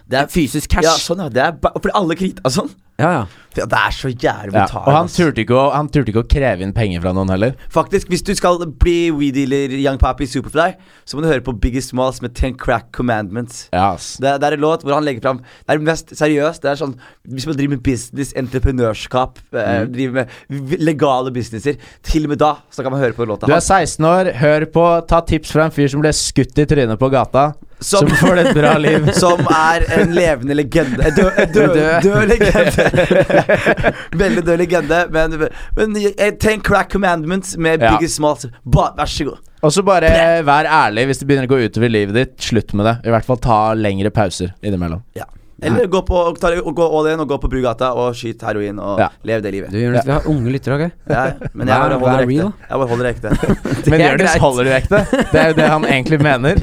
A: det er,
C: Fysisk cash.
A: ja, sånn, ja. Det er ba fordi alle krita sånn.
C: Ja, ja.
A: Ja, det er så jævlig
B: Ja.
A: brutalt.
B: Og han
A: ass.
B: turte, ikke å, han turte ikke å kreve inn penger fra noen heller.
A: Faktisk, hvis du skal bli weed dealer Young Papi Superfly, så må du høre på Biggest Malls med Ten Crack Commandments.
B: Ja, ass.
A: Det, det er en låt hvor han legger fram Det er mest seriøst. Det er sånn Hvis man driver med business, entreprenørskap, eh,
B: Mm.
A: driver med v- legale businesser, til og med da så kan man høre på låta.
B: Du er 16 år, hør på, ta tips fra en fyr som ble skutt i trynet på gata.
A: Som-
B: Som, får det et bra liv.
A: Som er en levende legende. En død, en død,
C: Død.
A: død legende. Veldig død legende, men, men eh, Ten Crack Commandments med
B: Ja.
A: Biggest Malls. Ba, vær så god.
B: Og så bare eh, vær ærlig hvis det begynner å gå utover livet ditt. Slutt med det. I hvert fall ta lengre pauser innimellom.
A: Ja. Eller gå, på, og ta, og gå all in og gå på Brugata og skyt heroin og
B: Ja.
A: lev det livet.
C: Du, Jonas, vi har unge lyttere, OK?
A: Ja, men jeg
C: Vær-
A: bare
C: vær
A: holder ekte.
C: real.
A: Jeg bare holder ekte.
B: Men
C: er
B: Jonis
C: greit.
B: holder du ekte. Det er jo det han egentlig mener.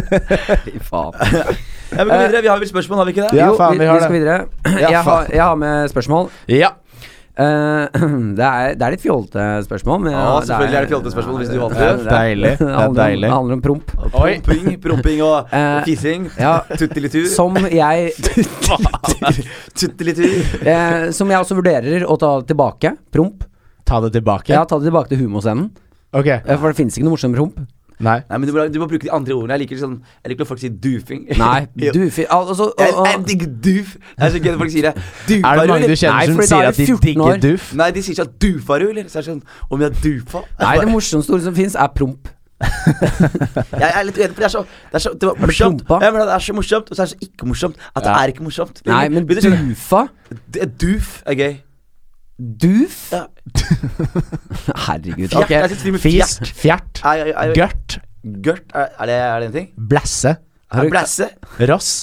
C: Fy faen.
A: Ja, men gå videre, Vi har vel spørsmål, har vi ikke det?
B: Ja,
C: jo,
B: faen,
C: vi,
B: vi har
C: vi skal
B: det.
C: videre.
B: Ja,
C: Jeg har,
B: faen.
C: jeg har med spørsmål.
B: Ja.
C: Eh, det, er, det er litt fjollete spørsmål. Men
A: Ja, selvfølgelig er det fjollete spørsmål hvis du valgte
B: Det
A: det.
B: er deilig. Det er
C: handler om-
B: deilig.
C: Det handler om promp.
A: Og Promping, promping og
C: Eh,
A: fising.
C: ja.
A: Tuttelitur.
C: Som jeg
A: Tuttelitur.
C: eh, Som jeg også vurderer å ta tilbake. Promp.
B: Ta det tilbake.
C: Jeg har tatt det tilbake til humorscenen.
B: Ok.
C: eh, For det finnes ikke noe morsommere promp.
B: Nei.
A: Nei, men du må, du må bruke de andre ordene. Jeg liker sånn Jeg liker når folk sier dufing.
C: Nei,
A: Jo.
C: du fi- al- altså,
A: Jeg,
C: og- og-
A: jeg digger duf. Det er så gøy når folk sier det.
B: Er
A: Dufa
B: det mange du
C: Nei,
B: kjenner som
C: fordi da
B: sier
C: er
B: at
C: vi
B: de
C: 14 år.
B: digger duff?
A: Nei, de sier ikke at dufa du, eller? Så er det sånn Om jeg dufa?
C: Nei, det morsomste ordet som fins, er promp.
A: Jeg er litt uenig, for det er så Det er så det var
C: du
A: morsomt.
C: prompa?
A: Ja, men det er så morsomt, og så er det så ikke morsomt at det
B: Ja.
A: er ikke morsomt. Det er
C: Nei,
A: ingen-
C: men
A: Vet du,
C: dufa
A: det- Duf er gøy.
C: Duf?
A: Ja.
C: Herregud.
A: Fjert.
C: ok.
A: Jeg synes til og med
B: Fis,
A: fjert.
B: fjert,
A: Ei, ei, ei.
B: gørt,
A: Gørt, er, er, det, er det en ting?
B: blæsse,
C: du-
A: Blæsse.
B: ross,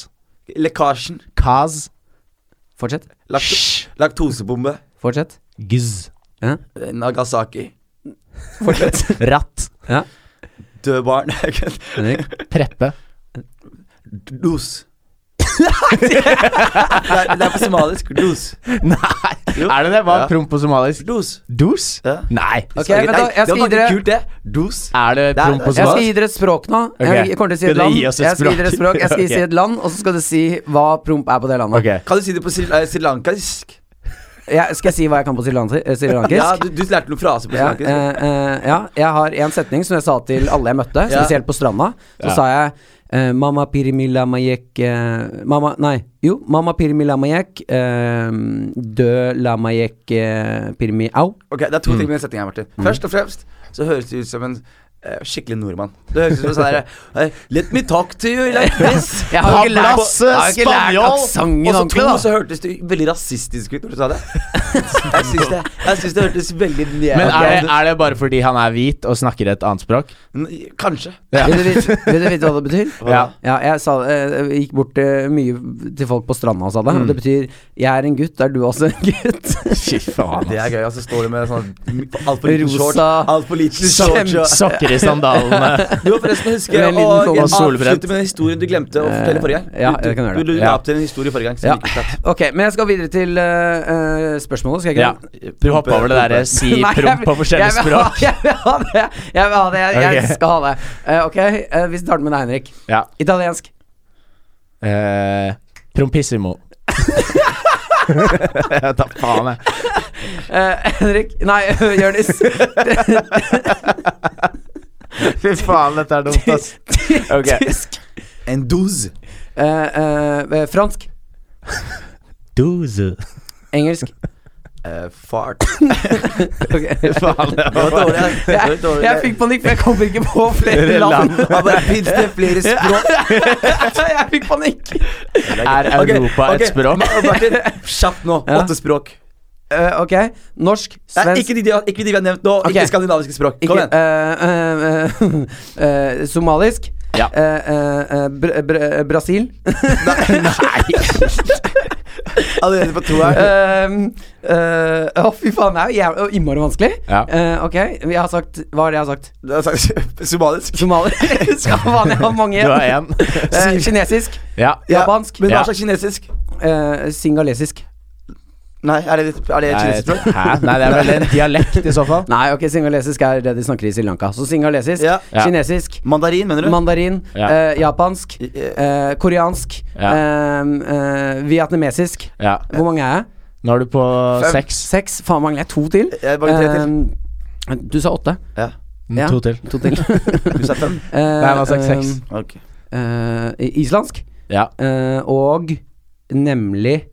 A: Lekkasjen.
B: kaz,
C: Fortsett.
A: Lakto
B: sj,
A: laktosebombe. Eh,
C: Fortsett.
B: gz,
C: Ja.
A: Nagasaki.
B: ratt,
C: ja.
A: Døde barn.
C: Henrik.
B: preppe.
A: Dos. det, er, det er på somalisk. Dos.
B: Nei,
A: Jo.
B: er det det? Hva
A: Ja.
B: er promp på somalisk?
A: Dos.
B: Dos?
A: Ja.
B: Nei.
C: Ok, men da- jeg skal
A: det var
C: videre.
A: faktisk kult, det. Dos.
B: Er det
A: Nei,
B: promp på
C: Jeg skal
B: somalisk?
C: gi dere et språk nå. Jeg,
B: Ok.
C: jeg kommer til å si
B: Skal
C: et
B: dere
C: land.
B: gi oss et
C: jeg skal gi
B: språk?
C: dere et språk Jeg skal si
B: Ok.
C: et land, og så skal dere si hva promp er på det landet.
B: Ok.
A: Kan du si det på sri, eh, srilankisk?
C: Jeg, skal jeg si hva jeg kan på srilankisk? Eh, srilankisk?
A: Ja, du, du lærte noen fraser på
C: Ja,
A: srilankisk.
C: eh, eh, ja, jeg har en setning som jeg sa til alle jeg møtte,
A: Ja.
C: spesielt på stranda. Så
B: Ja.
C: sa jeg eh, Mamma pirimilla mayek eh, Mamma, nei, jo. Mamma pirimilla mayek eh, Dø la mayek eh, pirimi au.
B: Mm.
A: Ok, Det er to ting med den setningen her, Martin. Først og fremst så høres det ut som en eh, skikkelig nordmann. Det høres ut som sånn derre eh, Let me talk to you like this.
C: Jeg har jo ikke lært-
B: Hablas,
C: jeg har jo ikke lært
B: spanjol.
C: aksenten
A: Og så
C: ordentlig,
A: to,
C: da.
A: så hørtes du veldig rasistisk ut når du sa det. Jeg syns det, jeg syns det hørtes veldig ned
B: Men er det, er det bare fordi han er hvit og snakker et annet språk?
A: N- Kanskje.
B: Ja.
C: Vil du vite vil du vite hva det betyr?
B: Ja.
C: Ja, jeg sa, eh, gikk bort eh, mye til folk på stranda og sa det. og Det betyr 'jeg er en gutt, er du også en gutt'?
B: Fy faen.
A: Det er gøy. Altså står du med sånn altfor liten
C: Rosa-
A: shorts. Altfor liten shorts.
B: Kjem-
A: og-
B: Sokker i sandalene.
A: Du må forresten huske
C: Med en
A: å
C: liten sånn
B: kåpe. Solbrent.
A: avslutte med den historien du glemte å fortelle forrige gang.
C: Eh, ja, jeg kan gjøre det.
A: Du, du, du
B: sånn Ja.
A: la opp til en historie forrige gang. Så
C: Ja.
A: ja. jeg
C: Ok, men jeg skal videre til eh, eh, spørsmålet, skal jeg ikke
B: Ja. Du hoppa over det derre si
C: eh, Nei, jeg
B: promp på
C: vil-
B: forskjellige
C: jeg vil ha-
B: språk.
C: Jeg vil ha det. Jeg vil ha det, jeg, jeg
B: Ok.
C: skal ha det. Eh, ok, eh, vi starter med deg, Henrik.
B: Ja.
C: Italiensk.
B: Eh, prompissimo. Jeg tar faen, jeg.
C: Eh, Henrik Nei, Jonis.
B: Fy faen, dette er dumt, ass. Ok.
C: Tysk.
A: En doz.
C: Eh, eh, fransk.
B: Doze.
C: Engelsk.
A: Eh, fart.
C: Ok.
B: Faen, det
A: Det
B: var
A: var dårlig. Det var
C: Jeg,
A: dårlig.
C: jeg fikk panikk, for jeg kommer ikke på flere land.
A: Ja, bare, Finnes det flere språk?
C: jeg fikk panikk.
B: Er
A: Ok,
B: Europa
A: ok.
B: et språk?
A: Ma- Martin, kjapt nå.
C: Ja.
A: Åtte språk.
C: Eh, ok, norsk,
A: Nei,
C: svensk
A: ikke, de, ikke de vi har nevnt nå.
C: Ok.
A: Ikke skandinaviske språk. Kom
C: Ikke,
A: igjen.
C: eh, eh, eh, eh, somalisk.
B: Ja.
C: Eh, eh, eh, br br Brasil.
A: Allerede på toeren.
C: Eh, eh, Å, fy faen, det er jo jævla og innmari vanskelig.
B: Ja.
C: Eh, ok, vi har sagt Hva har jeg sagt?
A: Du har sagt Somalisk.
C: Somalier? Skal faen, jeg har mange.
B: Du har én.
C: Eh, kinesisk.
B: Ja.
A: Ja,
C: Japansk.
A: Men
B: Ja.
A: hva slags kinesisk?
C: Eh, singalesisk.
A: Nei, er det, er det
B: Nei,
A: kinesisk språk?
B: Hæ? Nei, det er vel en dialekt i så fall.
C: Nei, ok, singalesisk er det de snakker i Sri Lanka. Så singalesisk,
A: Ja.
B: Ja.
C: kinesisk,
A: Mandarin, mener du?
C: mandarin,
B: Ja.
C: eh, japansk,
A: I-
C: eh, koreansk,
B: Ja.
C: eh, eh, vietnamesisk.
B: Ja.
C: Hvor mange er jeg?
B: Nå er du på
A: Fem.
B: seks.
C: Seks? Faen, mangler jeg to til?
A: Jeg mangler tre til.
C: Eh, du sa åtte.
A: ja.
C: Ja.
B: Mm, To til.
C: To til.
A: Du sa fem?
C: Eh,
B: Nei, han har sagt seks.
A: Ok.
C: eh, eh, islandsk.
B: Ja.
C: eh, og nemlig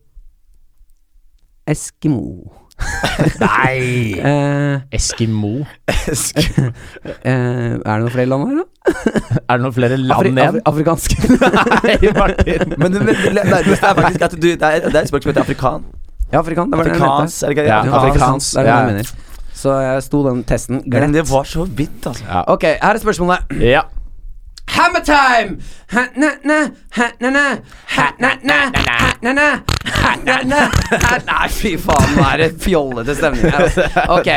C: Eskimo.
B: Nei!
C: Eh,
B: Eskimo.
C: eh, er det noen flere land her, da?
B: Er det noen flere land
C: Afri
B: igjen?
C: afri afrikansk.
B: Nei, Martin.
A: Men det det- det nærmeste er faktisk at du Det er, det er et språk som heter afrikan.
C: ja, afrikan. Det var det jeg mente.
A: Afrikansk, er det ikke det?
B: Ja,
C: Ja,
B: afrikansk.
C: afrikansk. Det er det
B: Ja.
C: jeg mener. Så jeg sto den testen
A: Men
C: glemt.
A: det var så vidt, altså.
B: Ja.
C: Ok, her er spørsmålet.
B: ja.
C: Hammertime! Ha-na-na, ha-na-na, ha-na-na, ha-na-na, ha-na-na. Ha- Nei, fy faen, nå er det fjollete stemning her. altså. Ok.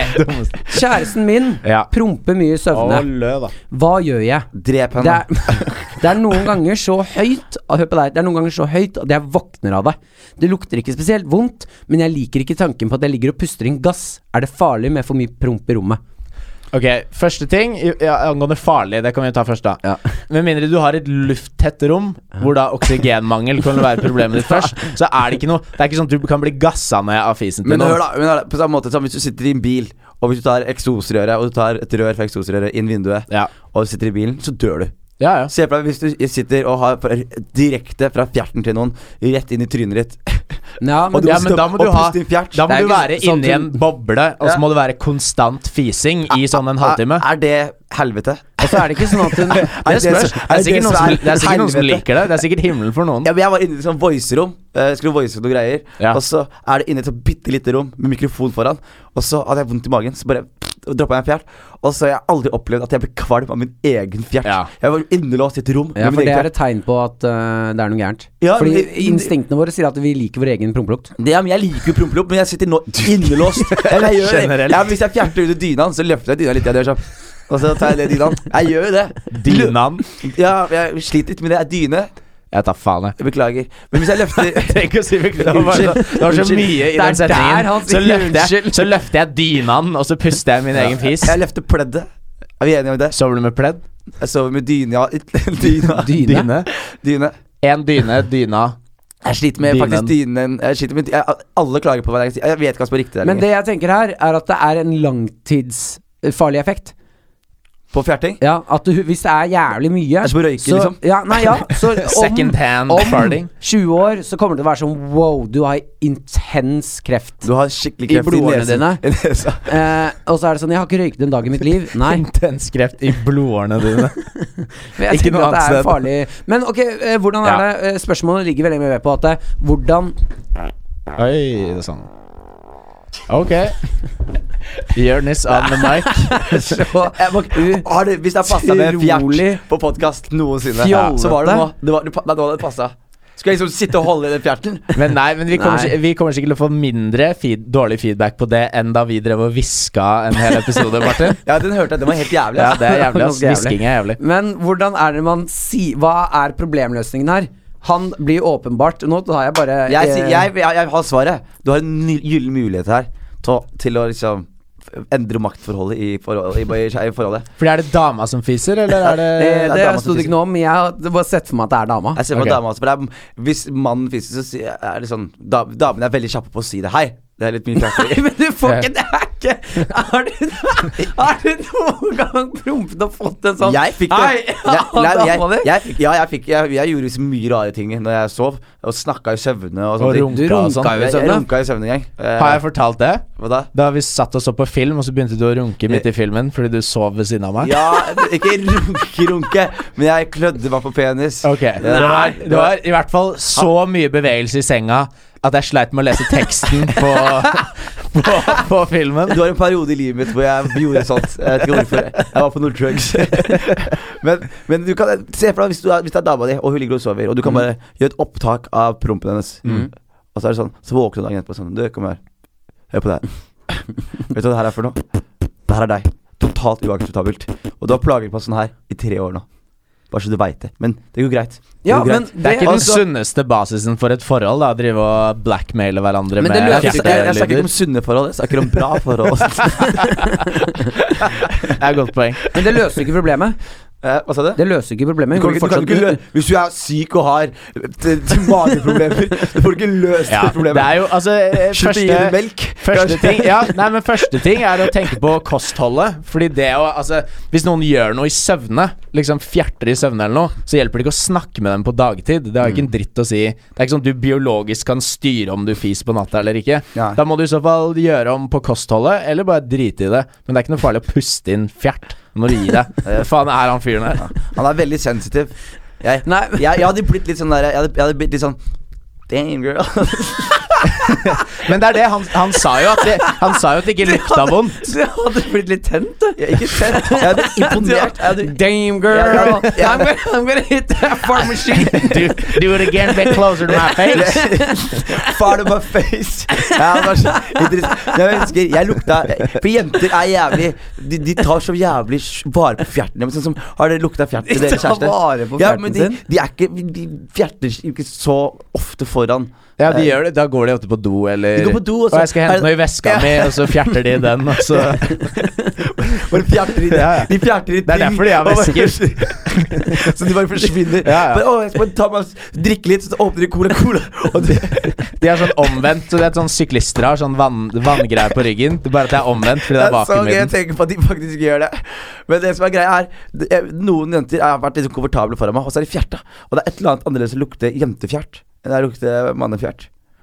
C: Kjæresten min
B: Ja.
C: promper mye i søvne.
B: lø, da.
C: Hva gjør jeg?
A: Drep
C: Det
A: henne.
C: er, det er noen ganger så høyt ah, Hør på deg. Det er noen ganger så høyt at jeg våkner av det. Det lukter ikke spesielt vondt, men jeg liker ikke tanken på at jeg ligger og puster inn gass. Er det farlig med for mye promp i rommet?
B: Ok, Første ting i- ja, angående farlig. Det kan vi ta først, da.
C: Ja.
B: Med mindre du har et lufttett rom, hvor da oksygenmangel kan være problemet ditt først, så er det ikke noe Det er ikke sånn at du kan bli gassa ned av fisen til
A: Men
B: noen.
A: hør, da. Men hør da på samme måte som hvis du sitter i en bil, og hvis du tar eksosrøret og du tar et rør fra eksosrøret inn vinduet,
B: Ja.
A: og du sitter i bilen, så dør du.
B: Ja, ja.
A: Se på deg hvis du sitter og har for- direkte fra fjerten til noen rett inn i trynet ditt.
C: Ja, men
A: du
B: ja,
A: må
B: men da
A: stoppe
B: må du
A: og
B: ha
A: puste inn fjert.
B: Da
C: Det
B: må
C: er
B: du
C: ikke
B: være
C: sånn
B: inni en
C: du-
B: boble, og så
A: Ja.
B: må det være konstant fising i sånn en halvtime.
A: Er det helvete?
C: Ah, Og så er det ikke sånn at hun
B: Det
A: det
B: spørs.
A: så-
B: Det er
A: er det
B: sikkert noen
A: så-
B: som, det er sikkert noen som
A: helvete?
B: liker det. Det er sikkert himmelen for noen.
A: Ja, men jeg var inne i et sånt voicerom. eh, skulle voice noen greier.
B: Ja.
A: Og så er det inne i et sånt bitte lite rom med mikrofon foran. Og så hadde jeg vondt i magen, så bare droppa jeg en fjert. Og så har jeg aldri opplevd at jeg ble kvalm av min egen fjert.
B: Ja.
A: Jeg var innelåst i et rom.
C: Ja,
A: med
C: for
A: min
C: det
A: egen
C: er et tegn på at øh, det er noe gærent.
A: Ja,
C: Fordi
A: men-
C: instinktene våre sier at vi liker vår egen prompelukt.
A: Det, ja, men jeg liker jo prompelopp, men jeg sitter nå innelåst. Eller jeg gjør det.
B: Generelt.
A: Ja, men hvis jeg fjerter ut dyna, så løfter jeg dyna litt. Jeg gjør sånn. Og så tar jeg ned dyna. Jeg gjør jo det.
B: Dynaen.
A: Ja, jeg sliter litt med det. Jeg er Dyne.
B: Jeg tar faen, jeg.
A: Jeg beklager. Men hvis jeg løfter
B: Tenk å si beklager. Det var, så, det var så
A: Unnskyld.
B: mye i
C: Det er
B: den
C: der
B: setningen.
C: han
B: Så
C: sier
B: løfter, jeg,
C: unnskyld.
B: så løfter jeg dynaen, og så puster jeg min egen fis.
A: Jeg løfter pleddet. Er vi enige om det?
B: Sover du med pledd?
A: Jeg sover med dyna Dyna.
C: Dyne.
A: dyne.
B: En dyne, dyna
A: Jeg sliter med
B: Dynen.
A: faktisk dynen. Jeg sliter med, jeg, alle klager på hva jeg sier. Jeg vet ikke hva som er riktig der
C: Men
A: lenger.
C: det jeg tenker her, er at det er en langtidsfarlig eh, effekt.
A: på fjerting?
C: Ja, at du, hvis det er jævlig mye
A: er som å røyke, liksom.
C: Ja, nei, ja. Så om,
B: Second hand farting.
C: Om 20 år så kommer det til å være sånn wow, du har intens kreft.
A: Du har skikkelig
C: I
A: kreft i,
C: blodårene
A: nesen.
C: dine.
A: I nesa.
C: Eh, og så er det sånn Jeg har ikke røyket en dag i mitt liv. Nei.
B: Intens kreft i blodårene dine.
C: Men jeg
B: Ikke
C: tenker
B: noe
C: at det
B: annet
C: er farlig. Men ok, eh, hvordan er
B: Ja.
C: det eh, Spørsmålet ligger veldig mye ved på at eh, hvordan
B: Oi, det er sånn. Ok. Jonis on the mic.
A: Har det, hvis det har passa med
C: Utrolig.
A: fjert på podkast noensinne,
C: Fjollete.
A: så var det nå. Det var, det, pa- nei, nå hadde det passa. Skulle jeg liksom sitte og holde i den fjerten?
B: Men nei, men vi kommer,
C: Nei.
B: ikke- vi kommer sikkert til å få mindre feed, dårlig feedback på det enn da vi drev og hviska en hel episode, Martin.
A: Ja, den hørte jeg. Den var helt jævlig. altså.
B: Ja,
A: ass.
B: det er jævlig. ass.
C: Ganske jævlig.
B: Hvisking er jævlig.
C: Men hvordan er det man si Hva er problemløsningen her? Han blir åpenbart Nå har jeg bare
A: Jeg, sier-
C: eh,
A: jeg, jeg, jeg har svaret. Du har en ny- gyllen mulighet her til, å- til å liksom endre maktforholdet i forholdet. I, i, i forholdet.
B: Fordi er det dama som fiser, eller er
C: Det,
B: det
A: er
C: eh, det
A: eh, dama som
C: sto det
A: fiser.
C: ikke noe om. Jeg har bare sett for meg at det er dama.
A: Jeg ser på
B: Ok.
A: dama også, for det er, Hvis mannen fiser, så sier- er det sånn da, Damene er veldig kjappe på å si det. Hei, det er litt mye
C: Nei,
A: fjerting.
C: Men du får ikke det er ikke Har du, har du noen gang prompet og fått en sånn
A: Jeg fikk det.
C: Hei,
A: Nei, nei,
C: dama
A: jeg,
C: di?
A: jeg, fikk, ja, jeg, fikk, jeg, jeg gjorde så mye rare ting når jeg sov, og snakka i søvne og
B: Og
A: sånne ting.
B: runka og sånn.
A: Jeg, jeg runka i søvne en gang. Eh,
B: Har jeg fortalt det?
A: hva da?
B: Da vi satt og så på film, og så begynte du å runke midt i filmen fordi du sov ved siden av meg?
A: Ja, ikke runke, runke, men jeg klødde meg på penis.
B: Ok,
A: det var-
B: Nei,
A: det
B: det
A: var-
B: var i hvert fall så mye bevegelse i senga at jeg sleit med å lese teksten på, på, på filmen.
A: Det var en periode i livet mitt hvor jeg gjorde sånt. Jeg vet ikke hvorfor. Jeg var på noen drugs. Men, men du kan se for deg hvis, du er, hvis det er dama di, og hun ligger og sover, og du kan bare gjøre et opptak av prompen hennes. Og så er det sånn Så våkner hun dagen etterpå sånn Du, kom her. Hør på det her. vet du hva det her er for noe? Det her er deg. Totalt uakseptabelt. Og du har plaget på sånn her i tre år nå. Bare så du veit det. Men det går greit. Det
C: Ja,
A: går greit.
C: men
B: Det er ikke sånn- den
A: Altså-
B: sunneste basisen for et forhold, da, å drive og blackmaile hverandre
C: Men
B: med
C: det
A: jeg,
C: løser
A: jeg,
C: ikke-
A: jeg, jeg snakker ikke
B: kjeftelyder.
A: om sunne forhold, jeg snakker om bra forhold.
B: Det er et godt poeng.
C: Men det løser ikke problemet.
A: Eh, Hva sa du?
C: Det løser ikke
A: Du
C: problemet.
A: kan, ikke- du kan
C: Fortsatt-
A: ikke lø Hvis du er syk og har eh, t- t- mageproblemer, så får du ikke løst
B: Ja,
A: det problemet.
B: det er jo altså eh,
A: Slutt å gi det
B: første,
A: melk.
B: første
A: Kanskje.
B: ting Ja, nei, men første ting er å tenke på kostholdet. Fordi det å Altså, hvis noen gjør noe i søvne, liksom fjerter i søvne eller noe, så hjelper det ikke å snakke med dem på dagtid. Det har jo ikke en dritt å si. Det er ikke sånn at du biologisk kan styre om du fiser på natta eller ikke.
A: Nei.
B: Da må du i så fall gjøre om på kostholdet, eller bare drite i det. Men det er ikke noe farlig å puste inn fjert. Nå må du gi deg. Hva faen er han fyren her?
A: Han er veldig sensitiv. Jeg,
C: Nei.
A: jeg, jeg hadde blitt litt sånn der Jeg hadde, jeg hadde blitt litt sånn Damn, girl.
B: Men det er det, han, han sa jo at det, Han sa jo at det ikke lukta vondt.
C: Du hadde blitt litt tent, du.
A: Jeg, er ikke sett. jeg hadde blitt imponert. Jeg hadde,
C: Damn girl,
A: Ja, ja, ja.
C: I'm, gonna, I'm gonna hit that farm machine.
B: Do, do it again, get closer to my face.
A: Far to my face. Ja, det var så interessant. Jeg husker jeg lukta For jenter er jævlig De, de tar så jævlig sj- vare på fjerten. deres, Sånn som, har dere lukta fjert til
C: De
A: deres
C: tar
A: kjæreste?
C: vare på
A: ja,
C: fjerten
A: men de,
C: sin.
A: de er ikke De fjerter jo ikke så ofte foran.
B: Ja, de gjør det. Da går de ofte på do, eller
A: Eh, De går på do, og så-
B: Å, jeg skal hente noe i veska mi, og så fjerter de den, og så
A: Bare fjerter i det.
B: Ja, ja.
A: De fjerter i
B: Det er
A: ting,
B: derfor de har
A: og bare- så de bare forsvinner.
B: Ja, ja.
A: Bare, å, jeg skal bare ta meg drikke litt, så åpner de Cola Cola. Og de,
B: De er sånn omvendt. Så det er sånn Syklister har sånn vann, vanngreier på ryggen. Det er bare at det er omvendt fordi det er
A: så
B: vakuum
A: gøy
B: i
A: å
B: den.
A: tenke på at de faktisk gjør det. Men det som er greia er det er- Noen jenter har vært litt komfortable foran meg, og så er de fjerta. Og det er et eller annet annerledes å lukte jentefjert enn det er å lukte mannefjert.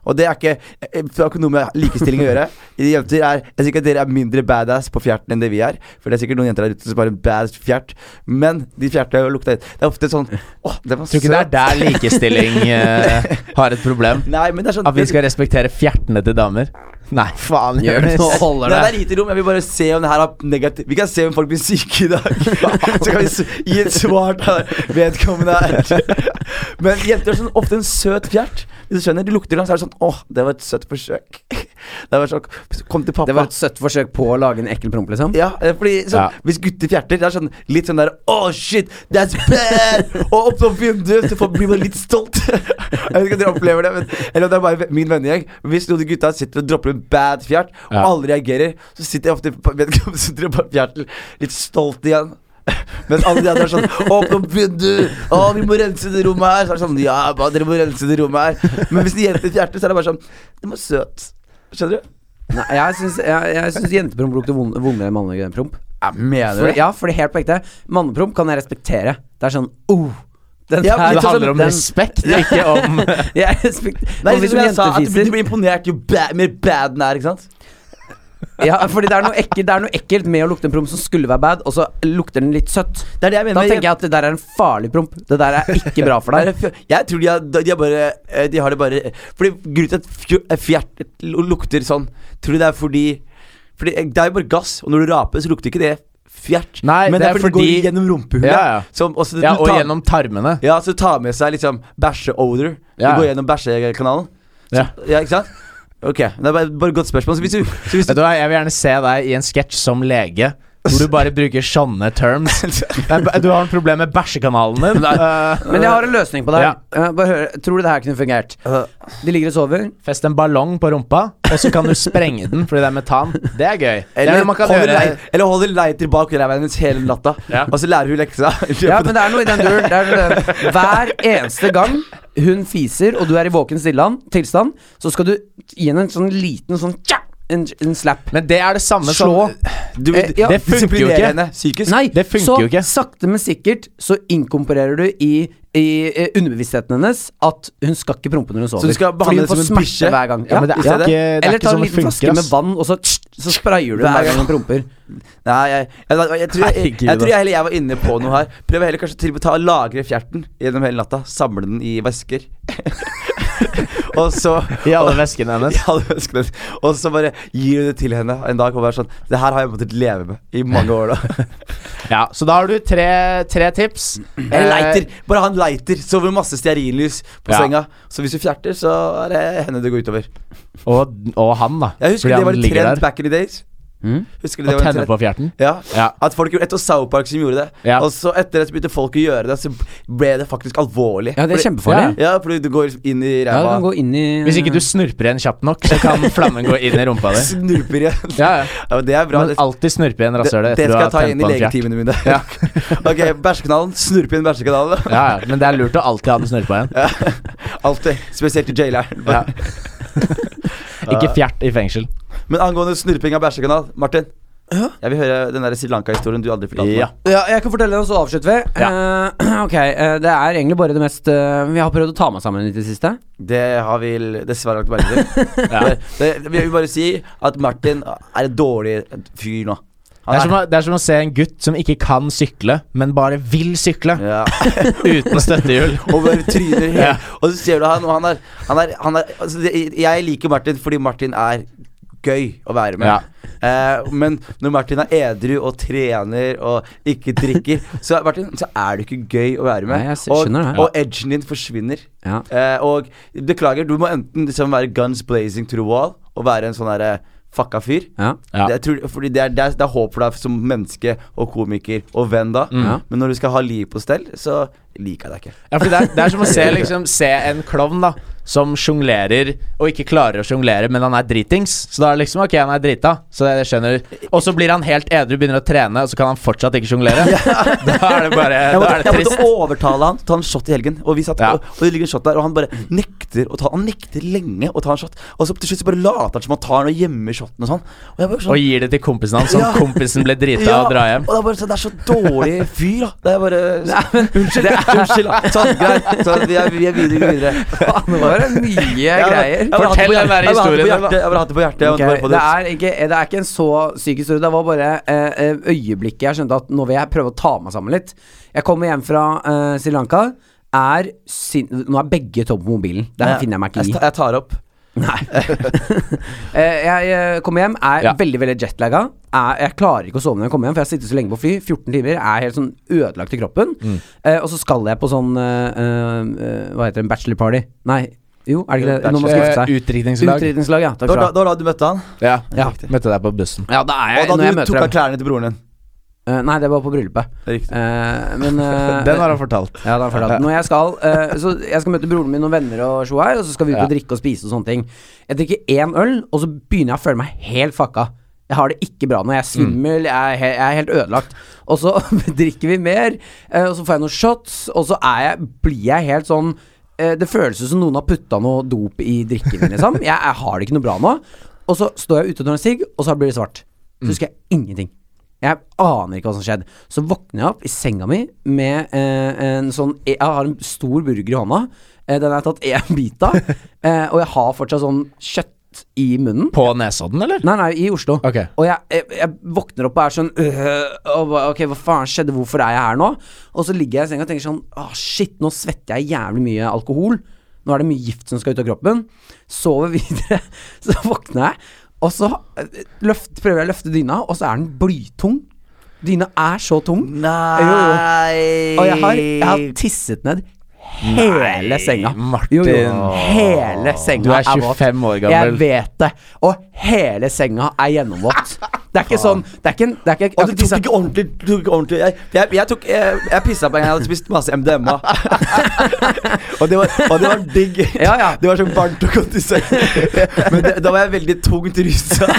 A: Og det er ikke eh, Det har ikke noe med likestilling å gjøre. De Jenter er Jeg sier ikke at dere er mindre badass på fjerten enn det vi er. For det er sikkert noen jenter der ute som har en badass fjert. Men de fjerta og lukta Det er ofte sånn Åh, det var
B: Tror ikke det er der likestilling eh, har et problem.
A: Nei, men det er sånn
B: At vi skal respektere fjertene til damer. Nei, faen.
C: Gjør det, nå
B: Jonis.
C: holder
A: det
C: det.
A: er lite rom. Jeg vil bare se om det her har negativ Vi kan se om folk blir syke i dag. Så kan vi s- gi et svar til vedkommende her. Men jenter har sånn, ofte en søt fjert. Hvis du skjønner, De lukter langt, så er det sånn Åh, det var et søtt forsøk. Det var sånn Kom til pappa.
C: Det var et søtt forsøk på å lage en ekkel promp, liksom.
A: ja, eh, fordi sånn,
B: Ja.
A: Hvis gutter fjerter, det er sånn litt sånn der Oh shit, that's bad! Og opp til vinduet, så får- blir man litt stolt. jeg vet ikke om dere opplever det, men, eller om det er bare min vennegjeng. Hvis noen av gutta sitter og dropper en bad fjert, og
B: Ja.
A: alle reagerer, så sitter jeg ofte på vedkommende sitter og bare fjerter litt stolt igjen. Mens alle de andre er sånn Åpne opp vinduet! Å, vi må rense det rommet her! Så er det sånn Ja, ba, dere må rense det rommet her. Men hvis de jenter fjerter, så er det bare sånn De var søt. Skjønner du?
C: Nei, jeg syns, jeg, jeg syns jentepromp lukter vond- vondere enn mannepromp.
A: Mener du
C: Fordi,
A: det?
C: ja, fordi helt på ekte. Mannepromp kan jeg respektere. Det er sånn oh, den
A: Ja,
C: der-
A: litt
B: Det
A: sånn
B: handler om
A: den-
B: respekt, ikke om
C: Jeg respekter
A: Nei,
C: Og
A: litt
C: hvis
A: liksom som
C: en
A: jeg sa, at du,
C: jente
A: blir- du
C: fiser
A: blir imponert jo ba mer bad den er, ikke sant?
C: Ja, fordi det er, noe ekkelt, det er noe ekkelt med å lukte en promp som skulle være bad, og så lukter den litt søtt.
A: Det er det jeg mener.
C: Da tenker jeg at det der er en farlig promp. Det der er ikke bra for deg.
A: Jeg, jeg tror de har, de har bare eh, De har det bare Fordi grunnen til at fjo- eh, fjert lu- lukter sånn Tror du det er fordi Fordi eh, det er jo bare gass Og når du raper så lukter ikke det fjert
B: Nei,
A: Men det er fordi det går gjennom rumpehullet
B: Ja, ja.
A: Som, og, så du
B: Ja, og
A: tar-
B: gjennom tarmene.
A: Ja, så du tar med seg liksom bæsjeodor
B: Ja.
A: Du går gjennom bæsjekanalen
B: Ja.
A: Ja, ikke sant? Ok, det er bare, bare et godt spørsmål Så hvis du, så hvis
B: Vet
A: du
B: du hva, Jeg vil gjerne se deg i en sketsj som lege. Hvor du bare bruker sånne terms. Nei, b- Du har en problem med bæsjekanalen din. Eh,
C: Men jeg har en løsning på det.
B: Ja.
C: her. Eh, Bare hør, tror du det her kunne fungert?
A: Øh,
C: De ligger og sover.
B: Fest en ballong på rumpa, og så kan du sprenge den fordi det er metan. Det er gøy. Det er
A: eller,
B: noe man kan
A: holder
B: gjøre.
A: lei- eller holder leiter bak ræva hennes hele natta
B: Ja.
A: Og så lærer hun leksa
C: Ja, men det er noe i den duren. Det er noe- Hver eneste gang hun fiser, og du er i våken stilland- tilstand, så skal du gi henne en sånn liten sånn tja, en, en slap.
B: Men det er det samme
C: Slå.
B: som
A: du,
C: Eh, ja.
A: Det funker jo
B: ikke.
A: henne psykisk
C: Nei,
B: Det funker
C: så
B: jo ikke.
C: sakte, men sikkert så inkorporerer du i, i eh, underbevisstheten hennes at hun skal ikke prompe når hun sover.
A: Så du skal
C: Fordi
A: behandle
C: hun får
A: henne som en
C: smerte
A: bikkje?
C: hver gang.
B: Ja, men det er
A: i stedet.
B: ikke, det er
C: Eller
B: ikke
C: ta en
B: sånn det
C: liten flaske
B: funker.
C: med
B: ass.
C: vann, og så, så sprayer du
A: Hver gang.
C: hver gang hun promper.
A: Nei, jeg, jeg, jeg, jeg, tror, jeg, jeg,
B: Herregud,
A: tror
B: ass.
A: jeg heller jeg var inne på noe her. Prøv heller kanskje til og med ta og lagre fjerten gjennom hele natta. Samle den i vesker. og så
B: I alle veskene hennes.
A: Ja, det ønsker jeg. Og så bare gir du det til henne en dag og bare sånn Det her har jeg måttet leve med i mange år nå.
B: Ja, Så da har du tre, tre tips.
A: Eller
B: Eh,
A: leiter. Bare ha en leiter. Sover masse stearinlys på
B: Ja.
A: senga. Så hvis du fjerter, så er det henne det går utover.
B: Og, og han, da.
A: Jeg husker
B: Fordi
A: det
B: han
A: var en
B: ligger
A: trend
B: der
A: back in the days. Husker du det
B: og
A: var en
B: tenner
A: trend?
B: på fjerten.
A: Ja.
B: Ja.
A: At folk gjorde, etter South Park som gjorde det.
B: Ja.
A: Og så etter det så begynte folk å gjøre det, så ble det faktisk alvorlig.
C: Ja, det er
A: Fordi-
C: kjempefarlig.
A: Ja, fordi du går inn i
C: Ja, du kan
A: ræva,
C: gå inn i
B: Hvis ikke du snurper igjen kjapt nok, så kan flammen gå inn i rumpa di.
A: snurper igjen.
B: Ja, ja.
A: Ja, men det er bra.
B: Men
A: Det,
B: alltid snurpe igjen rasshølet
A: det, det
B: etter du
A: skal
B: har
A: jeg ta
B: tent på
A: inn i
B: en fjert.
A: legetimene mine.
B: Ja.
A: ok, bæsjekanalen. Snurpe inn bæsjekanalen.
B: Ja, ja. Men det er lurt å alltid ha den snurpa igjen.
A: Ja. Alltid. Spesielt i jaileren.
B: Ja. Ikke fjert i fengsel.
A: Men angående snurping av bæsjekanal, Martin. Jeg vil høre den der Sri Lanka-historien du aldri fortalte
B: Ja.
C: Ja, jeg kan fortelle den, og så avslutter vi. Eh, ok, eh, Det er egentlig bare det mest eh, Vi har prøvd å ta meg sammen litt i det siste.
A: meg. Det har vi l- dessverre lagt merke til.
B: Ja.
A: Det- Jeg vil bare si at Martin er en dårlig fyr nå.
B: Det, er
A: Han
B: som å, det er som å se en gutt som ikke kan sykle, men bare vil sykle.
A: ja.
B: Uten støttehjul.
A: Og bare tryner helt.
B: Ja.
A: Og så ser du han, og han er, han er, han er altså, det, Jeg liker Martin fordi Martin er gøy å være med.
B: Ja.
A: Eh, men når Martin er edru og trener og ikke drikker, så, er- Martin, så er du ikke gøy å være med.
C: Nei, jeg s-
A: og,
C: skjønner det.
A: og edgen din forsvinner.
C: Ja.
A: Eh, og beklager, du må enten liksom være guns blazing to the wall og være en sånn derre fucka fyr.
C: Ja.
B: Ja.
A: Det, er- tror, fordi det, er, det, er, det er håp for deg som menneske og komiker og venn da.
B: Mm.
C: Ja.
A: Men når du skal ha liv på stell, så liker jeg deg ikke.
B: Ja, fordi det, er, det er som å se, liksom, se en klovn da som sjonglerer og ikke klarer å sjonglere, men han er dritings. Så da er det liksom ok, han er drita. Så jeg skjønner Og så blir han helt edru, begynner å trene, og så kan han fortsatt ikke sjonglere. Da er det bare
A: Jeg
B: Da
A: måtte,
B: er det
A: jeg måtte
B: trist.
A: overtale han til å ta en shot i helgen. Og vi satt
B: Ja.
A: og, og det ligger en shot der, og han bare nekter å ta Han nekter lenge å ta en shot. Og så til slutt så bare later han som han tar den og gjemmer shoten og sånn. Og jeg bare sånn
B: Og gir det til kompisen hans, sånn
A: Ja.
B: kompisen ble drita
A: ja,
B: og drar hjem.
A: Og det er bare sånn, det er så dårlig fyr, da. Det er bare Unnskyld. unnskyld da. Sånn, greit. Så vi er, vi er videre, vi er videre.
C: Faen, nå var det mye
A: Jeg bare-
C: greier.
A: jeg bare hatt det på
B: Fortell den der historien, da.
A: hjertet. Jeg bare hatt det på hjertet. Jeg bare hatt det på hjertet. Jeg
C: Ok,
A: måtte bare få
C: det,
A: det ut.
C: er ikke, eh, det er ikke en så syk historie. Det var bare eh, eh, øyeblikket jeg skjønte at nå vil jeg prøve å ta meg sammen litt. Jeg kommer hjem fra eh, Sri Lanka. Er sin nå er begge tom på mobilen. Det her
A: Ja.
C: finner jeg meg
A: Jeg
C: ikke i.
A: tar- Jeg tar opp.
C: Nei. Eh, jeg eh, kommer hjem, er
B: Ja.
C: veldig veldig jetlagga. Er- Jeg klarer ikke å sove når jeg kommer hjem, for jeg har sittet så lenge på fly. 14 timer. Jeg er helt sånn ødelagt i kroppen.
A: Mm.
C: Eh, og så skal jeg på sånn eh, eh, Hva heter det? En bachelor party? Nei. Jo, er det ikke det? Når man skal gifte
B: Eh,
C: seg.
B: Utdrikningslag.
C: Utdrikningslag, ja. Takk
A: Det var
C: skal
A: da,
C: du ha.
A: det var da du møtte han,
B: Ja.
A: Ja.
B: Møtte deg på bussen.
C: Ja, da er jeg,
A: og
C: når
A: da
C: jeg
A: du
C: møter
A: tok
C: dem.
A: av klærne til broren din.
C: Eh, nei, det var på bryllupet.
A: Det er riktig.
C: Eh, men eh,
B: Den har han fortalt.
C: ja, da får jeg det. Når jeg skal eh, Så jeg skal møte broren min og venner og sjå her, og så skal vi ut
B: Ja.
C: og drikke og spise og sånne ting. Jeg drikker én øl, og så begynner jeg å føle meg helt fucka. Jeg har det ikke bra nå. Jeg er
B: Mm.
C: svimmel, jeg, er he jeg er helt ødelagt. Og så drikker vi mer, eh, og så får jeg noen shots, og så er jeg, blir jeg helt sånn eh, Det føles ut som noen har putta noe dop i drikken min, liksom. Jeg,
B: Mm.
C: jeg har det ikke noe bra nå. Og så står jeg ute og tar en sigg, og så blir det svart. Så husker jeg ingenting. Jeg aner ikke hva som skjedde. Så våkner jeg opp i senga mi med eh, en sånn Jeg har en stor burger i hånda. Eh, den har jeg tatt én bit av. Eh, og jeg har fortsatt sånn kjøtt i munnen.
B: På Nesodden, eller?
C: Nei, nei, i Oslo.
B: Ok.
C: Og jeg, jeg, jeg våkner opp og er sånn øh, og, ba- Ok, hva faen skjedde? Hvorfor er jeg her nå? Og så ligger jeg i senga og tenker sånn Åh, shit, nå svetter jeg jævlig mye alkohol. Nå er det mye gift som skal ut av kroppen. Sover videre. Så våkner jeg, og så øh, løft, prøver jeg å løfte dyna, og så er den blytung. Dyna er så tung. Jo, jo.
A: Nei
C: Og jeg har, jeg har tisset ned hele
B: Nei,
C: senga.
B: Martin.
C: Jo, jo, hele senga
B: Du er
C: våt.
B: 25 år gammel.
C: Jeg vet det. Og hele senga er gjennomvåt. Det er ikke sånn Det er ikke, en- det er ikke jeg har
A: Og du
C: ikke
A: tok
C: tisset-
A: ikke ordentlig, du tok ikke ordentlig. Jeg, jeg, jeg, tok, jeg, jeg pissa på en gang jeg hadde spist masse MDMA. og, det var, og det var digg.
C: Ja, ja.
A: Det var så varmt og godt i sengen. Men det, da var jeg veldig tungt rusa.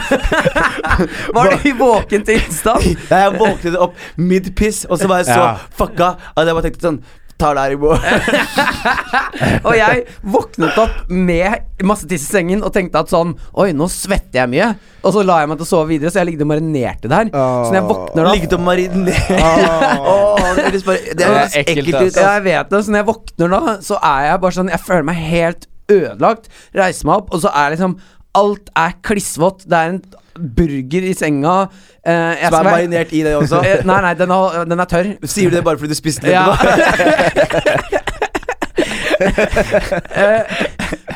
C: Var det i våken tilstand?
A: Ja, Jeg våknet opp mid-piss, og så var jeg så
B: Ja.
A: fucka at jeg bare tenkte sånn Tar det her i morgen.
C: Og jeg våknet opp med masse tiss i sengen og tenkte at sånn Oi, nå svetter jeg mye. Og så la jeg meg til å sove videre, så jeg ligget og marinerte der. Så når jeg våkner opp
A: Ligget og marinert. Ah. Åh, det høres bare- det høres
B: Det er ekkelt,
A: ekkelt
B: ass.
A: ut.
C: Ja, jeg vet det. Så når jeg våkner da, så er jeg bare sånn Jeg føler meg helt ødelagt. Reiser meg opp, og så er liksom Alt er klissvått. Det er en burger i senga. Eh, jeg
A: Som
C: skal
A: er
C: være-
A: marinert i det også.
C: Eh, nei, nei, den, har, den er tørr.
A: Sier du det bare fordi du spiste det?
C: Ja.
A: etterpå?
C: Eh,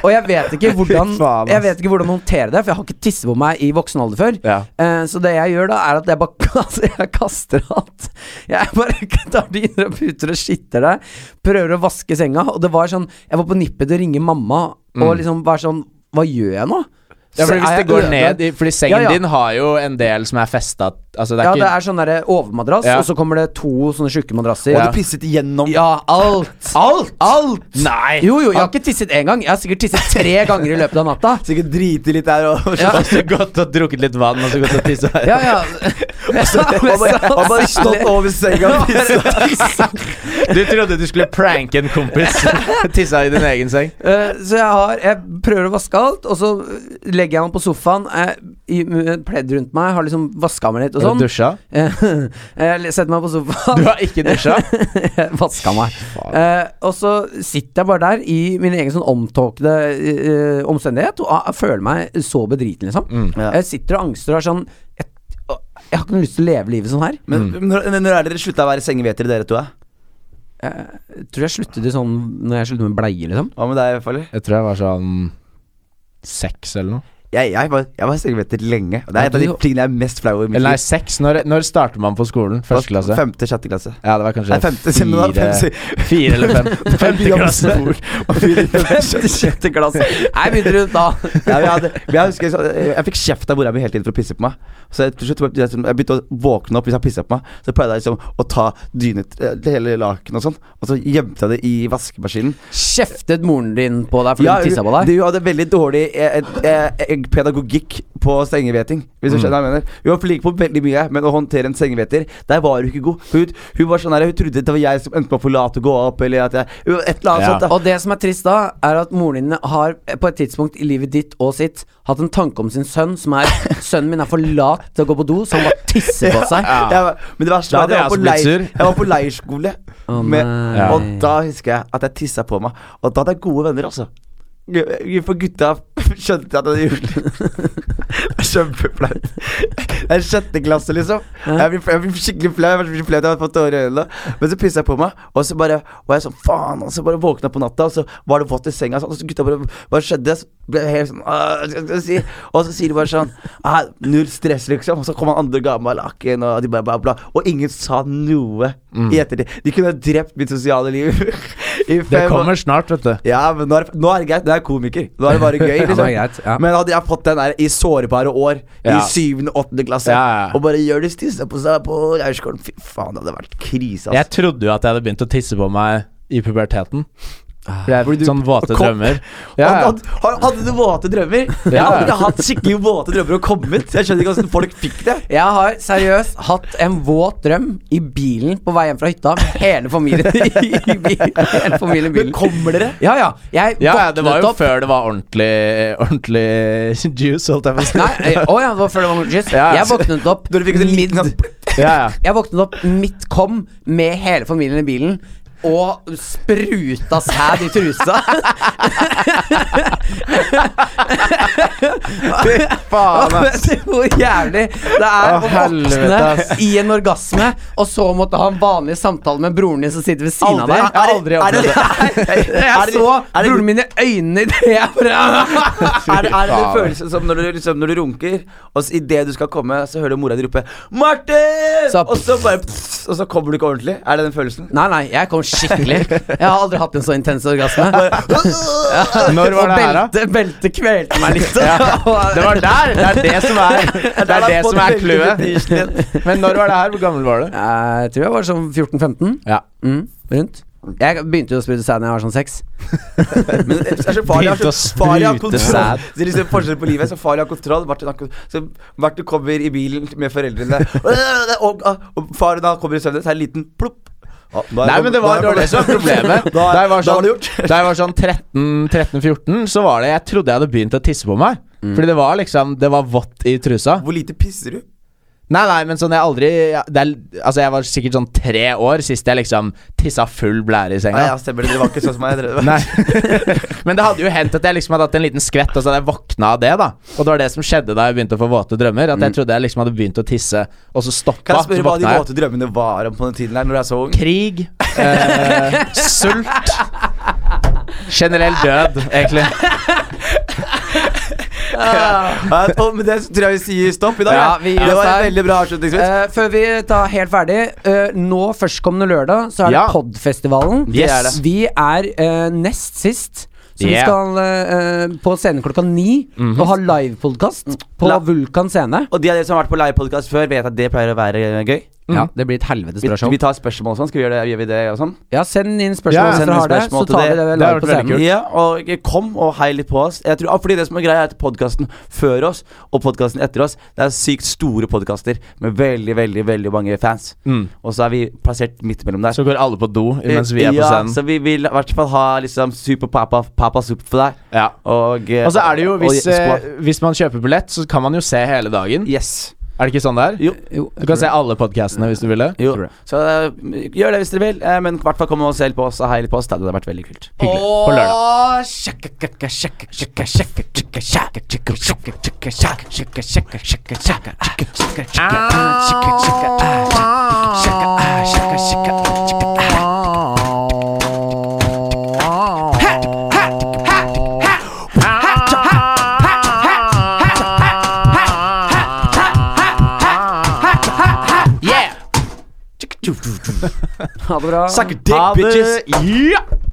C: og jeg vet ikke hvordan
B: Fy faen, ass.
C: Jeg vet ikke hvordan å håndtere det, for jeg har ikke tisset på meg i voksen alder før.
B: Ja.
C: Eh, så det jeg gjør da, er at jeg bare kaster, jeg kaster alt. Jeg bare tar dyner og puter og skitter det. Prøver å vaske senga. Og det var sånn Jeg var på nippet til å ringe mamma og liksom være sånn Hva gjør jeg nå?
B: Mm. Ja, for
C: Så er
B: hvis det
C: jeg
B: går
C: ødelagt.
B: ned i- Fordi sengen
C: Ja, ja.
B: din har jo en del som er festa Altså, det er
C: Ja, det
B: ikke
C: er sånn derre overmadrass,
B: Ja.
C: og så kommer det to sånne tjukke madrasser.
A: Og du pisset igjennom.
C: Ja, alt.
A: Alt! Alt!
B: Nei!
C: Jo, jo, jeg har ikke tisset én gang. Jeg har sikkert tisset tre ganger i løpet av natta.
A: Sikkert drite litt der og
C: Ja.
B: Og så gått og drukket litt vann, og så gått og tissa her.
C: Ja, ja.
A: Og bare, og bare stått over senga og pissa.
B: Du trodde du skulle pranke en kompis. Tissa i din egen seng.
C: Eh, så jeg har Jeg prøver å vaske alt, og så legger jeg meg på sofaen jeg, i, med et pledd rundt meg, har liksom vaska meg litt og sånn.
B: dusja?
C: Eh, jeg setter meg på sofaen.
B: Du har ikke dusja?
C: Jeg vaska meg. Eh, og så sitter jeg bare der i min egen sånn omtåkede eh, omstendighet og jeg føler meg så bedriten, liksom.
B: Mm.
A: Ja.
C: Jeg sitter og angster og er sånn jeg, å, jeg har ikke noe lyst til å leve livet sånn her.
A: Men når, men når er dere slutta å være sengevetere, dere to? ja?
C: Jeg tror jeg sluttet i sånn når jeg sluttet med bleie, liksom.
A: Hva med deg, Farley?
B: Jeg tror jeg var sånn seks eller noe.
A: Jeg, jeg, var, jeg var sengeveter lenge. Og det er
C: Ja,
A: et av de
C: du-
A: tingene jeg er mest flau over i mitt
B: Eller nei,
A: liv.
B: seks. Når, når starter man på skolen? Første klasse?
A: Femte, sjette klasse.
B: Ja, det var kanskje
A: Nei, femte, siden det var
B: fire,
A: fem,
B: fire eller fem. Femte klasse.
A: Femte,
C: Sjette klasse. Nei, begynner du da.
A: Ja, men jeg, hadde, men jeg, husker, jeg, så- jeg fikk kjeft av mora mi hele tiden for å pisse på meg. Så jeg, til slutt, jeg, jeg begynte å våkne opp hvis jeg pissa på meg. Så pleide jeg liksom å ta dynet eh, det hele lakenet og sånn, og så gjemte jeg det i vaskemaskinen.
C: Kjeftet moren din på deg fordi hun tissa på deg?
A: Du hadde veldig dårlig eh, eh, eh, pedagogikk på sengeveting, hvis
C: Mm.
A: du skjønner hva jeg mener. Hun var flink på veldig mye, men å håndtere en sengeveter, der var hun ikke god. Hun, hun var sånn her, hun trodde det var jeg som endte med å forlate å gå opp, eller at jeg Et eller annet
B: Ja.
A: sånt. da.
C: Og det som er trist da, er at moren din har eh, på et tidspunkt i livet ditt og sitt hatt en tanke om sin sønn som er Sønnen min er for lat til å gå på do, så han bare tisser på seg.
A: Ja. Jeg var- men det verste
B: Da
A: var
B: hadde
A: at jeg var, på
B: jeg også blitt
A: leir,
B: sur.
A: jeg var på leirskole.
C: Å,
A: med-
C: nei.
A: og da husker jeg at jeg tissa på meg. Og da hadde jeg gode venner, altså. Gu- For gutta skjønte at jeg hadde gjort det. Det er Kjempeflaut. Det er sjette klasse, liksom. Jeg blir, jeg blir skikkelig flau. Jeg blir så flau at jeg har fått tårer i øynene. Men så pissa jeg på meg, og så bare var jeg sånn faen. Og så bare våkna jeg på natta, og så var det vått i senga. Sånn, og så gutta bare Hva skjedde? Så ble jeg helt sånn «Åh, hva skal jeg si? Og så sier de bare sånn «Ah, Null stress, liksom. Og så kom han andre og ga meg laken, og de bare bla, bla. Og ingen sa noe i ettertid. De kunne ha drept mitt sosiale liv i fem
B: Mm. Det
A: år.
B: kommer snart, vet du.
A: Ja, men nå er, nå er det greit. Nå er jeg komiker. Nå er det bare gøy.
C: Ja,
A: Liksom.
C: det er greit, ja.
A: Men hadde jeg fått den der i sårbare år,
B: Ja.
A: i syvende, åttende klasse,
B: Ja, ja.
A: og bare gjør det stissa på seg på leirskolen Fy faen, det hadde vært krise,
B: Jeg
A: altså.
B: trodde jo at jeg hadde begynt å tisse på meg i puberteten. For jeg
A: Fordi du-
B: fikk sånn våte
A: kom-
B: drømmer. Ja, ja.
A: Hadde, hadde, hadde du våte drømmer? Jeg
B: Ja.
A: har aldri hatt skikkelig våte drømmer og kommet. Jeg skjønner ikke hvordan folk fikk det.
C: Jeg har seriøst hatt en våt drøm i bilen på vei hjem fra hytta med hele familien i i bilen. Hele familien i
A: Men
C: bilen.
A: kommer dere?
C: Ja, ja. Jeg
B: ja, ja, det var
C: våknet
B: jo
C: opp
B: før det var ordentlig Ordentlig juice, holdt jeg på å si.
C: Nei, eh, å ja, det var før det var juice.
B: Ja, ja.
C: Jeg våknet opp
A: Når du fikk en liten sånn
B: Ja, ja.
C: Jeg våknet opp midt kom med hele familien i bilen. Og spruta sæd i trusa.
B: Faen, ass.
C: Hvor jævlig det er
B: Å,
C: å våkne
B: helvete, ass.
C: i en orgasme, og så måtte ha en vanlig samtale med broren din som sitter ved siden
A: Aldri.
C: av deg.
A: Er det-
C: Aldri
A: er det-
C: opplevd det.
A: er
C: Jeg
A: det-
C: så
A: er det-
C: broren min i øynene i det jeg bare
A: Er, det- er det den
B: faen.
A: følelsen som når du, liksom, når du runker, og så idet du skal komme, så hører du mora di rope 'Martin!'
C: Så-
A: og så bare pss, Og så kommer du ikke ordentlig? Er det den følelsen?
C: Nei, nei, jeg kom skikkelig. Jeg har aldri hatt en så intens orgasme.
B: Når var det her, da?
C: Og beltet belte kvelte meg litt.
B: Ja, det var der! Det er det som er Det er det som er clouet.
A: clouet.
B: Men når var det her? Hvor gammel var du?
C: Jeg tror jeg var sånn 14-15.
B: Ja.
C: Mm, rundt. Jeg begynte jo å sprute sæd da jeg var sånn seks.
A: Men det er så farlig
B: Begynte å
A: å sprute
B: sprute
A: kontroll.
B: sæd.
A: Det er liksom forskjell på livet. Så farlig å ha kontroll. Martin, har kon- så Martin kommer i bilen med foreldrene, og, og, og faren da kommer i søvne, så er det en liten plopp. Ja, da er
B: Nei, men det var, det var det som var problemet.
A: Da,
B: Da jeg var
A: da var
B: sånn,
A: det gjort.
B: da jeg var sånn 13-14, så var det Jeg trodde jeg hadde begynt å tisse på meg.
A: Mm.
B: Fordi det var liksom Det var vått i trusa.
A: Hvor lite pisser du?
B: Nei, nei, men sånn jeg aldri jeg, det er, Altså, jeg var sikkert sånn tre år sist jeg liksom tissa full blære i
A: Nei,
B: senga.
A: ja, stemmer det. Det var ikke sånn som jeg drev
B: Nei. Men det hadde jo hendt at jeg liksom hadde hatt en liten skvett, og så hadde jeg våkna av det. da Og det var det som skjedde da jeg begynte å få våte drømmer. At jeg trodde jeg liksom hadde begynt å tisse, og så stoppa.
A: Mm. Kan jeg
B: så
A: spørre hva de
B: våkna jeg.
A: våte drømmene var om på den tiden her, når du er så ung?
B: Krig. Eh, sult. Generell død, egentlig.
A: Ja, og med det så tror jeg vi sier stopp i dag.
C: Ja, vi gir
A: det
C: oss
A: var en
C: der.
A: veldig bra avslutningsvis.
C: Eh, før vi tar helt ferdig, eh, nå førstkommende lørdag så er
B: Ja.
C: det Podfestivalen.
B: Det er det.
C: Vi er eh, nest sist. Så vi
B: Yeah.
C: skal eh, eh, på scenen klokka ni og ha livepodkast på
A: La-
C: Vulkan scene.
A: Og de av dere som har vært på livepodkast før, vet at det pleier å være eh, gøy.
C: Ja,
B: Mm.
C: det blir et helvetes
A: Vi,
C: bra show.
A: vi tar spørsmål og sånn. Skal vi gjøre det, gjør vi det og sånn?
C: Ja, send inn
B: Ja,
C: spørsmål hvis
A: send
C: dere
A: inn
C: har det, så
A: spørsmål til
C: tar vi
A: det.
C: det
B: Det har
C: live på
B: vært veldig
C: scenen.
B: kult.
A: Ja, og kom og hei litt på oss. Jeg tror, ah, fordi det som er greia er at Podkasten før oss og podkasten etter oss, det er sykt store podkaster med veldig, veldig veldig mange fans.
B: Mm.
A: Og så er vi plassert midt mellom der.
B: Så går alle på do mens vi er på
A: ja,
B: scenen.
A: Så vi vil i hvert fall ha liksom super papa, papa soup for deg.
B: Ja.
A: Og, eh,
B: Og så er det jo,
A: og-
B: hvis,
A: og-
B: eh,
A: skål.
B: hvis man kjøper billett, så kan man jo se hele dagen.
A: Yes.
B: Er det ikke sånn det er?
A: Jo.
C: Jo,
B: Du kan se alle podcastene hvis du ville.
A: jo.
B: Tror jeg.
A: Så eh, gjør det hvis dere vil, eh, men i hvert fall kom og se litt på oss og hei litt på oss. Det hadde vært veldig kult.
B: Hyggelig. På lørdag.
C: Ha det bra. Ah,
A: Suck a dick, bitches.
B: Ja!